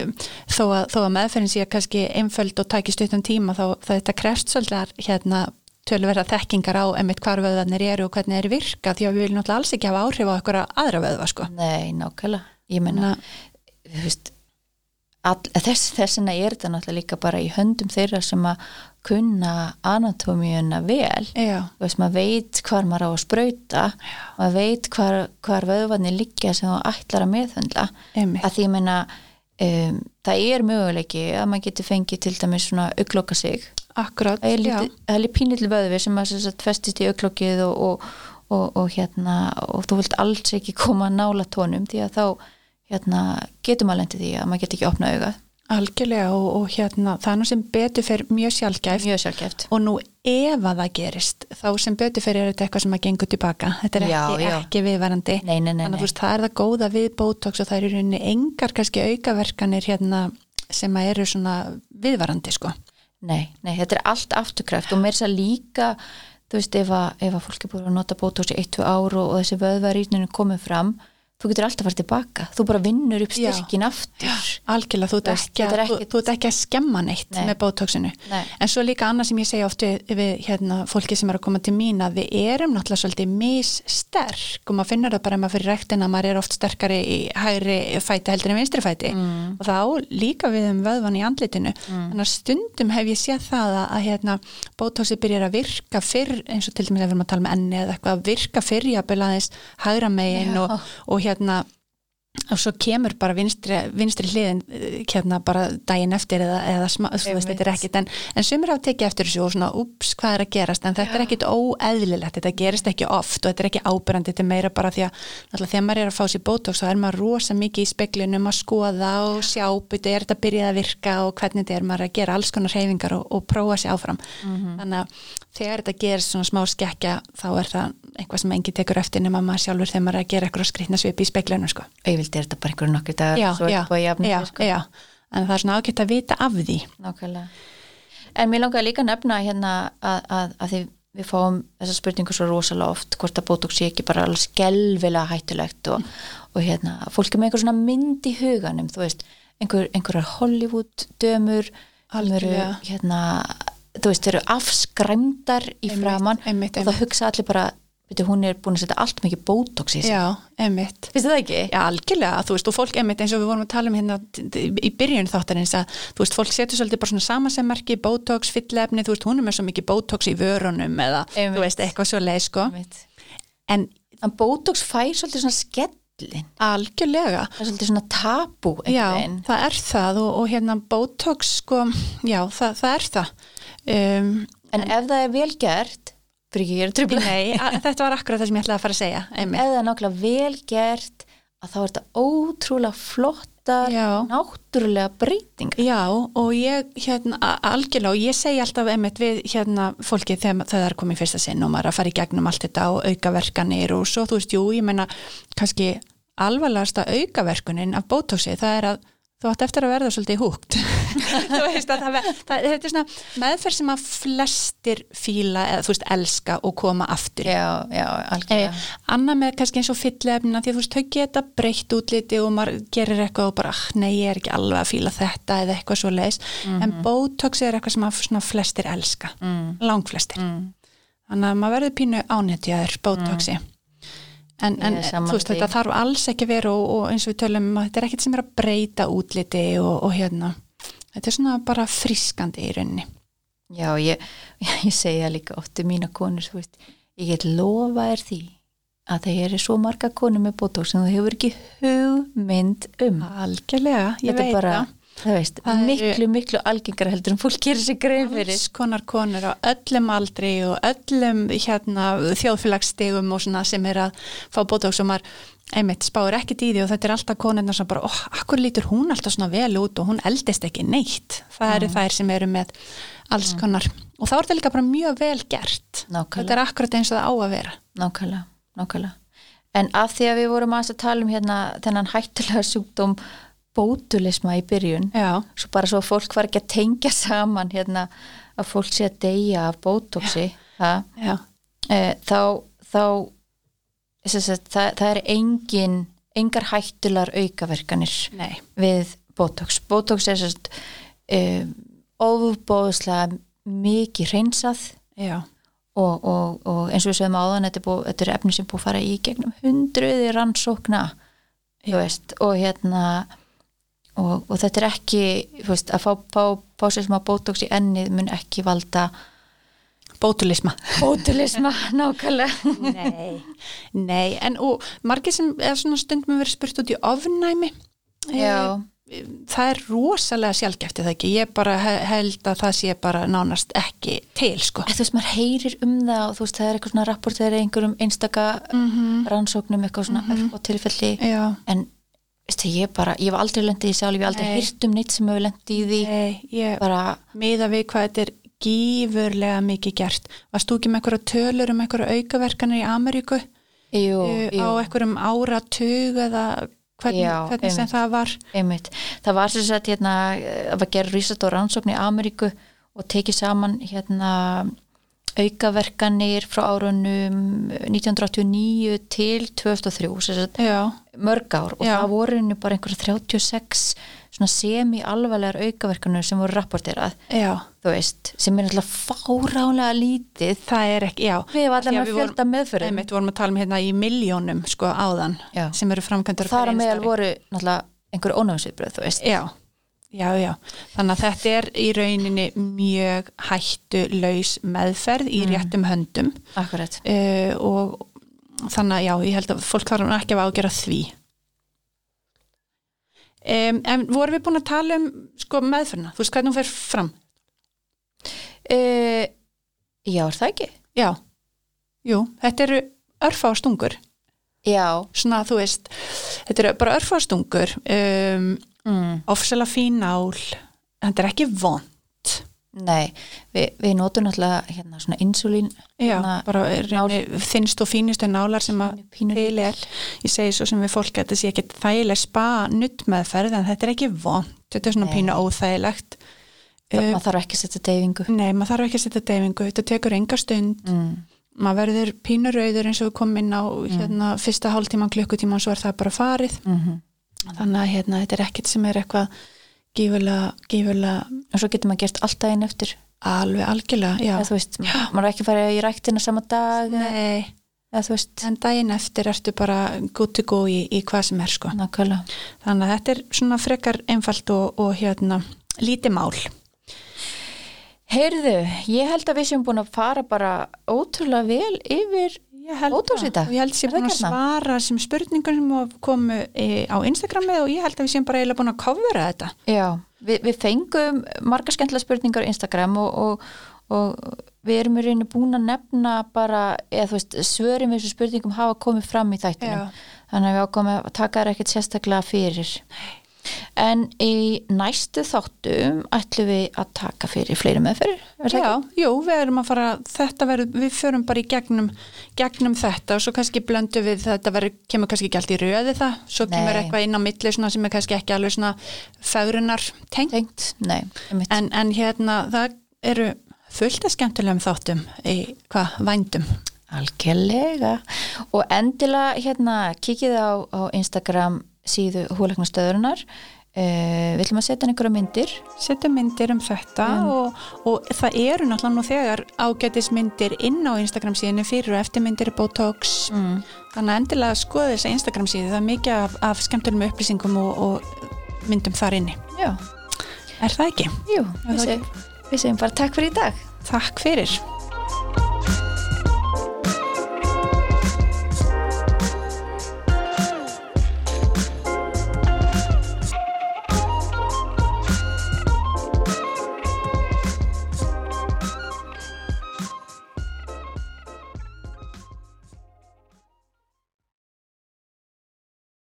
Speaker 2: um, þó, að, þó að meðferðin sé kannski einföld og tæki stuttum tíma þá það þetta krefst svolítið að, hérna tölverða þekkingar á emitt hvar vöðvarnir eru og hvernig er virka því að við viljum náttúrulega alls ekki hafa áhrif á okkur aðra vöðva sko.
Speaker 1: Nei, nákvæmlega. Ég menna, þú veist, all, þess, þessina er þetta náttúrulega líka bara í höndum þeirra sem að kunna anatómíuna vel.
Speaker 2: Já,
Speaker 1: Þú veist, maður veit hvar maður á að sprauta, maður veit hvar, hvar vöðvarnir liggja sem þú ætlar að meðhundla.
Speaker 2: emitt
Speaker 1: Að því ég menna, um, það er möguleiki að maður getur fengið til dæmis svona augloka sig
Speaker 2: akkurat,
Speaker 1: Það er
Speaker 2: já,
Speaker 1: lítið- það er líka pínlítið vöðvi sem að sem sagt, festist í auklokkið og, og, og, og, hérna, og þú vilt alls ekki koma nála tónum því að þá hérna, getur maður lendið því að maður get ekki opnað auga
Speaker 2: algjörlega og, og hérna, það er nú sem betur fyrir mjög sjálfgæft
Speaker 1: mjög sjálfgeft
Speaker 2: og nú ef að það gerist þá sem betur fyrir er þetta eitthvað sem að gengur tilbaka þetta er
Speaker 1: Já,
Speaker 2: ekki,
Speaker 1: já.
Speaker 2: ekki viðvarandi
Speaker 1: Nei, nei, nei,
Speaker 2: þannig að
Speaker 1: nei.
Speaker 2: þú veist það er það góða við botox og það eru í rauninni engar kannski aukaverkanir hérna sem að eru svona viðvarandi sko
Speaker 1: Nei, nei, þetta er allt afturkræft og mér þess að líka, þú veist, ef að, ef að fólk er búin að nota bótóks í 1-2 ár og, og þessi vöðvarýtninu komið fram, þú getur alltaf farið tilbaka. Þú bara vinnur upp
Speaker 2: Já.
Speaker 1: styrkin aftur.
Speaker 2: algjörlega, þú ert
Speaker 1: Þetta-
Speaker 2: ekki,
Speaker 1: þetta
Speaker 2: að-
Speaker 1: er
Speaker 2: þú,
Speaker 1: ekkit-
Speaker 2: þú ert ekki að skemma neitt
Speaker 1: Nei.
Speaker 2: með botoxinu
Speaker 1: Nei.
Speaker 2: en svo líka annað sem ég segja oft við, við hérna, fólki sem er að koma til mín að við erum náttúrulega svolítið missterk og maður finnur það bara ef maður fyrir rektin að maður er oft sterkari í hægri fæti heldur en vinstri fæti
Speaker 1: Mm.
Speaker 2: og þá líka við um vöðvan í andlitinu þannig að stundum hef ég séð það að, að hérna, botoxi byrjar að virka fyrr eins og til dæmis að við erum að tala með enni eða eitthvað að virka fyrr jafnvel aðeins hægra megin
Speaker 1: Já.
Speaker 2: og, og hérna og svo kemur bara vinstri, vinstri hliðin eh, hérna bara daginn eftir eða, eða smá, þú veist,
Speaker 1: Einmitt.
Speaker 2: þetta er ekkit en, en sumir hafa tekið eftir þessu og svona ups, hvað er að gerast en þetta er ekkit óeðlilegt, þetta gerist ekki oft og þetta er ekki ábyrrandi, þetta er meira bara því að náttúrulega þegar maður er að fá sér botox þá er maður rosa mikið í speglunum að skoða og sjá, byrja, er þetta byrjað að virka og hvernig þetta er maður að gera alls konar hreyfingar og, og prófa sér áfram þannig að þegar þetta gerist svona smá skekkja þá er það einhvað sem engin tekur eftir nema maður sjálfur þegar maður er að gera eitthvað skrýtna svip í speglunum sko
Speaker 1: Auðvildi er þetta bara einhverjum nokkuð dagar,
Speaker 2: já,
Speaker 1: svo er
Speaker 2: já,
Speaker 1: þetta búið að jafna.
Speaker 2: já,
Speaker 1: þig, sko.
Speaker 2: já. en það er svona ágætt að vita af því
Speaker 1: Nákvæmlega. En mér langaði líka að nefna hérna að, að, að því við fáum þessa spurningu svo rosalega oft hvort að bótók sé ekki bara alveg skelvilega hættulegt og, og hérna, fólk er með einhver svona mynd í huganum, þú veist, einhver, einhverjar Hollywood-dömur, sem eru,
Speaker 2: Algjörlega.
Speaker 1: hérna, þú veist, eru afskræmdar í
Speaker 2: Einmitt,
Speaker 1: framann
Speaker 2: einmitt,
Speaker 1: og það hugsa allir bara, veitir, hún er búin að setja allt mikið bótóks í sig.
Speaker 2: já, emmitt
Speaker 1: Finnst þið það ekki?
Speaker 2: Já, algjörlega, þú veist, og fólk einmitt eins og við vorum að tala um hérna t- t- í byrjun þáttarins að, þú veist, fólk setur svolítið bara svona samasemmerki, botox, fyllefni, þú veist, hún er með svo mikið botox í vörunum eða,
Speaker 1: Einmitt.
Speaker 2: þú veist, eitthvað svo leið, sko.
Speaker 1: Einmitt.
Speaker 2: En
Speaker 1: En bótóks fær svolítið svona skellin,
Speaker 2: algjörlega,
Speaker 1: það er svolítið svona tabú
Speaker 2: já,
Speaker 1: einhvern veginn.
Speaker 2: það er það og, og hérna botox, sko, já, það, það er það. Um,
Speaker 1: En ef það er vel gert, fyrir ekki að gera trubla,
Speaker 2: nei, [laughs] a- þetta var akkurat það sem ég ætlaði að fara að segja, einmitt.
Speaker 1: ef það er nákvæmlega vel gert, að þá er þetta ótrúlega flottar,
Speaker 2: Já.
Speaker 1: náttúrulega breytingar.
Speaker 2: Já, og ég hérna a- algjörlega og ég segi alltaf einmitt við hérna fólki þegar þegar það er komið í fyrsta sinn og maður er að fara í gegnum allt þetta og aukaverkanir og svo þú veist, jú, ég meina kannski alvarlegasta aukaverkunin af botoxi, það er að þú átt eftir að verða svolítið húgt þú veist að það, ver- það, þetta er svona meðferð sem að flestir fíla eða þú veist elska og koma aftur í.
Speaker 1: [laughs] Já, já,
Speaker 2: Eh,
Speaker 1: algjörlega.
Speaker 2: annað með kannski eins og fyllefnina því að þú veist, þau geta breytt útliti og maður gerir eitthvað og bara, ah, nei, ég er ekki alveg að fíla þetta eða eitthvað svo leis
Speaker 1: Mhm.
Speaker 2: en botox er eitthvað sem að svona flestir elska,
Speaker 1: Mm.
Speaker 2: langflestir þannig að maður verður pínu ánetjaður botoxi en, en
Speaker 1: Mm.
Speaker 2: eh,
Speaker 1: Ég er sammála
Speaker 2: þú veist,
Speaker 1: því.
Speaker 2: þetta þarf alls ekki að vera og, og eins og við tölum, um að þetta er ekkit sem er að breyta útliti og, og hérna þetta er svona bara frískandi í rauninni
Speaker 1: Já, ég, [laughs] ég segi það líka oft um mína konur, þú veist, ég get lofa þér því að það eru svo marga konur með botóks sem þú hefur ekki hugmynd um.
Speaker 2: algjörlega, ég
Speaker 1: þetta er
Speaker 2: veit
Speaker 1: bara,
Speaker 2: það
Speaker 1: það veist,
Speaker 2: Það eru-
Speaker 1: miklu, miklu algengara heldur en fólk gerir sér grein fyrir.
Speaker 2: alls konar konur á öllum aldri og öllum hérna, þjóðfélagsstegum og svona sem er að fá botox og maður einmitt spáir ekkert í því og þetta er alltaf konurna sem bara, oh, akkur lítur hún alltaf svona vel út og hún eldist ekki neitt það
Speaker 1: Mm.
Speaker 2: eru þær sem eru með alls konar og þá er þetta líka bara mjög vel gert
Speaker 1: Nákvæmlega.
Speaker 2: þetta er akkurat eins og það á að vera
Speaker 1: Nákvæmlega, nákvæmlega. En af því að við vorum aðeins að tala um hérna þennan hættulega sjúkdóm bótulisma í byrjun,
Speaker 2: já,
Speaker 1: svo bara svo að fólk var ekki að tengja saman hérna að fólk sé að deyja af bótoksi, ha,
Speaker 2: já,
Speaker 1: e, þá, þá sagt, það, það er engin, engar hættular aukaverkanir
Speaker 2: nei
Speaker 1: við botox. Botox er sérst um, ofbóðslega mikið hreinsað
Speaker 2: já,
Speaker 1: og, og, og eins og við sögum áðan þetta er, búið, þetta er efni sem búið að fara í gegnum hundruði rannsókna þú veist, og hérna og, og þetta er ekki þú veist, að fá, fá, fá sér sem að botox í ennið mun ekki valda
Speaker 2: bótulisma [laughs]
Speaker 1: botulisma nákvæmlega
Speaker 2: Nei. Nei, en og margir sem er svona stundum að vera spurt út í ofnæmi
Speaker 1: Já.
Speaker 2: Eh, það er rosalega sjálfgeft eða ekki, ég bara he- held að það sé bara nánast ekki til sko.
Speaker 1: Þú veist, maður heyrir um það og þú veist, það er eitthvað svona rapport, það er einhverjum einstaka rannsóknum, eitthvað svona mm og tilfelli,
Speaker 2: Mhm. Já,
Speaker 1: en veist, það, ég bara, ég hef aldrei lendið í sjálf, ég hef aldrei
Speaker 2: Nei.
Speaker 1: heyrt um neitt sem hefur lendið í því,
Speaker 2: Nei, ég
Speaker 1: bara,
Speaker 2: miða við hvað þetta er gífurlega mikið gert. Varst þú ekki með einhverja tölur um einhverja aukaverkanir í Ameríku
Speaker 1: jú,
Speaker 2: Eh,
Speaker 1: jú.
Speaker 2: á einhverjum áratug eða hvernig,
Speaker 1: Já,
Speaker 2: hvernig sem
Speaker 1: einmitt.
Speaker 2: það var?
Speaker 1: Einmitt. Það var sem sagt hérna, eh, það var gerð rísat og rannsókn í Ameríku og tekið saman hérna aukaverkanir frá árunum eh, 1989 til 2003, sem sagt
Speaker 2: Já,
Speaker 1: mörg ár og
Speaker 2: Já.
Speaker 1: það voru henni bara einhverja 36 svona semi-alvarlegar aukaverkanir sem voru rapporterað,
Speaker 2: já.
Speaker 1: þú veist, sem er alltaf fáránlega lítið.
Speaker 2: Það er ekki, já.
Speaker 1: Við hefum
Speaker 2: Því
Speaker 1: allan að
Speaker 2: við
Speaker 1: fjölda meðfyrir.
Speaker 2: Einmitt vorum að tala um hérna í miljónum sko áðan
Speaker 1: Já.
Speaker 2: sem eru framkvæmdur á
Speaker 1: Þar
Speaker 2: hverju
Speaker 1: að meðal
Speaker 2: einstari.
Speaker 1: voru náttúrulega einhverju ónámsviðbröð, þú veist.
Speaker 2: Já, já, já. Þannig að þetta er í rauninni mjög hættu laus meðferð í réttum höndum
Speaker 1: Akkurat.
Speaker 2: uh, og þannig að já, ég held að fólk þarf nú ekki að ágjöra því. Um, en vorum við búin að tala um sko meðferðina? Þú veist hvernig hún fer fram?
Speaker 1: Uh, já, er það ekki?
Speaker 2: Já, jú, þetta eru örfá stungur.
Speaker 1: Já.
Speaker 2: Svona þú veist, þetta eru bara örfá stungur, um,
Speaker 1: Mm.
Speaker 2: ofsela fínál, þetta er ekki von.
Speaker 1: Nei, við, við notum náttúrulega hérna svona insulín
Speaker 2: Já,
Speaker 1: Þannig að-
Speaker 2: bara Hérna, er reyni, þinnst og fínustu nálar sem að
Speaker 1: Pínu-
Speaker 2: til er, ég segi svo sem við fólk að þetta sé ekki þægileg spa nutt meðferð en þetta er ekki vond, þetta er svona
Speaker 1: Nei.
Speaker 2: pínu óþægilegt
Speaker 1: það
Speaker 2: uh,
Speaker 1: maður þarf ekki að setja deyfingu
Speaker 2: Nei, maður þarf ekki að setja deyfingu, þetta tekur enga stund
Speaker 1: mm.
Speaker 2: maður verður pínu rauður eins og við komum inn á hérna, fyrsta hálftíman, klukkutíman svo er það bara farið,
Speaker 1: Mm
Speaker 2: þannig að hérna, þetta er ekkit sem er eitthvað gífulega, gífulega
Speaker 1: og svo getur maður gert alltaf einn eftir
Speaker 2: alveg algjörlega,
Speaker 1: eða
Speaker 2: já
Speaker 1: þú veist, maður er ekki að fara í ræktina sama dag
Speaker 2: Nei,
Speaker 1: eða þú veist,
Speaker 2: en daginn eftir ertu bara good to go í, í hvað sem er sko
Speaker 1: nákvæmlega
Speaker 2: Þannig að þetta er svona frekar einfalt og, og hérna lítið mál.
Speaker 1: Heyrðu, ég held að við séum búin að fara bara ótrúlega vel yfir
Speaker 2: Ég held
Speaker 1: Ódós í dag.
Speaker 2: og ég held að ég
Speaker 1: Er
Speaker 2: búin
Speaker 1: það
Speaker 2: að
Speaker 1: ekki hérna?
Speaker 2: svara sem spurningar sem hafa komu e, á Instagramið og ég held að við séum bara eiginlega búin að covera þetta.
Speaker 1: Já, við, við fengum margar skemmtilega spurningar á Instagram og, og, og við erum í reyni búin að nefna bara, eða þú veist, svörum við þessu spurningum hafa komið fram í þættinum.
Speaker 2: Já.
Speaker 1: Þannig að við ákomum að taka þær ekkert sérstaklega fyrir. En í næstu þáttum ætlum við að taka fyrir fleiri meðferðir. er það
Speaker 2: Já,
Speaker 1: ekki?
Speaker 2: jú, við erum að fara, þetta verður, við förum bara í gegnum, gegnum þetta og svo kannski blöndu við þetta verður, kemur kannski ekki allt í röði það, svo
Speaker 1: Nei.
Speaker 2: kemur eitthvað inn á milli svona sem er kannski ekki alveg svona fagrunar tengt.
Speaker 1: Tengt? Nei, einmitt.
Speaker 2: En, en hérna, það eru fullt að skemmtilegum þáttum í hvað, vændum.
Speaker 1: Algjörlega. Og endilega hérna kikið á, á Instagram síðu húleiknastöðurinnar. Uh, við ætlum að setja hann einhverja myndir
Speaker 2: setja myndir um þetta og, og það eru náttúrulega nú þegar ágætismyndir inn á Instagram síðinu fyrir og eftir myndir í Botox þannig að endilega skoða þessa Instagram síðu það er mikið af, af skemmtunum upplýsingum og, og myndum þar inni
Speaker 1: Já,
Speaker 2: er það ekki?
Speaker 1: jú, við
Speaker 2: Er það
Speaker 1: segjum, við segjum bara takk fyrir í dag.
Speaker 2: Takk fyrir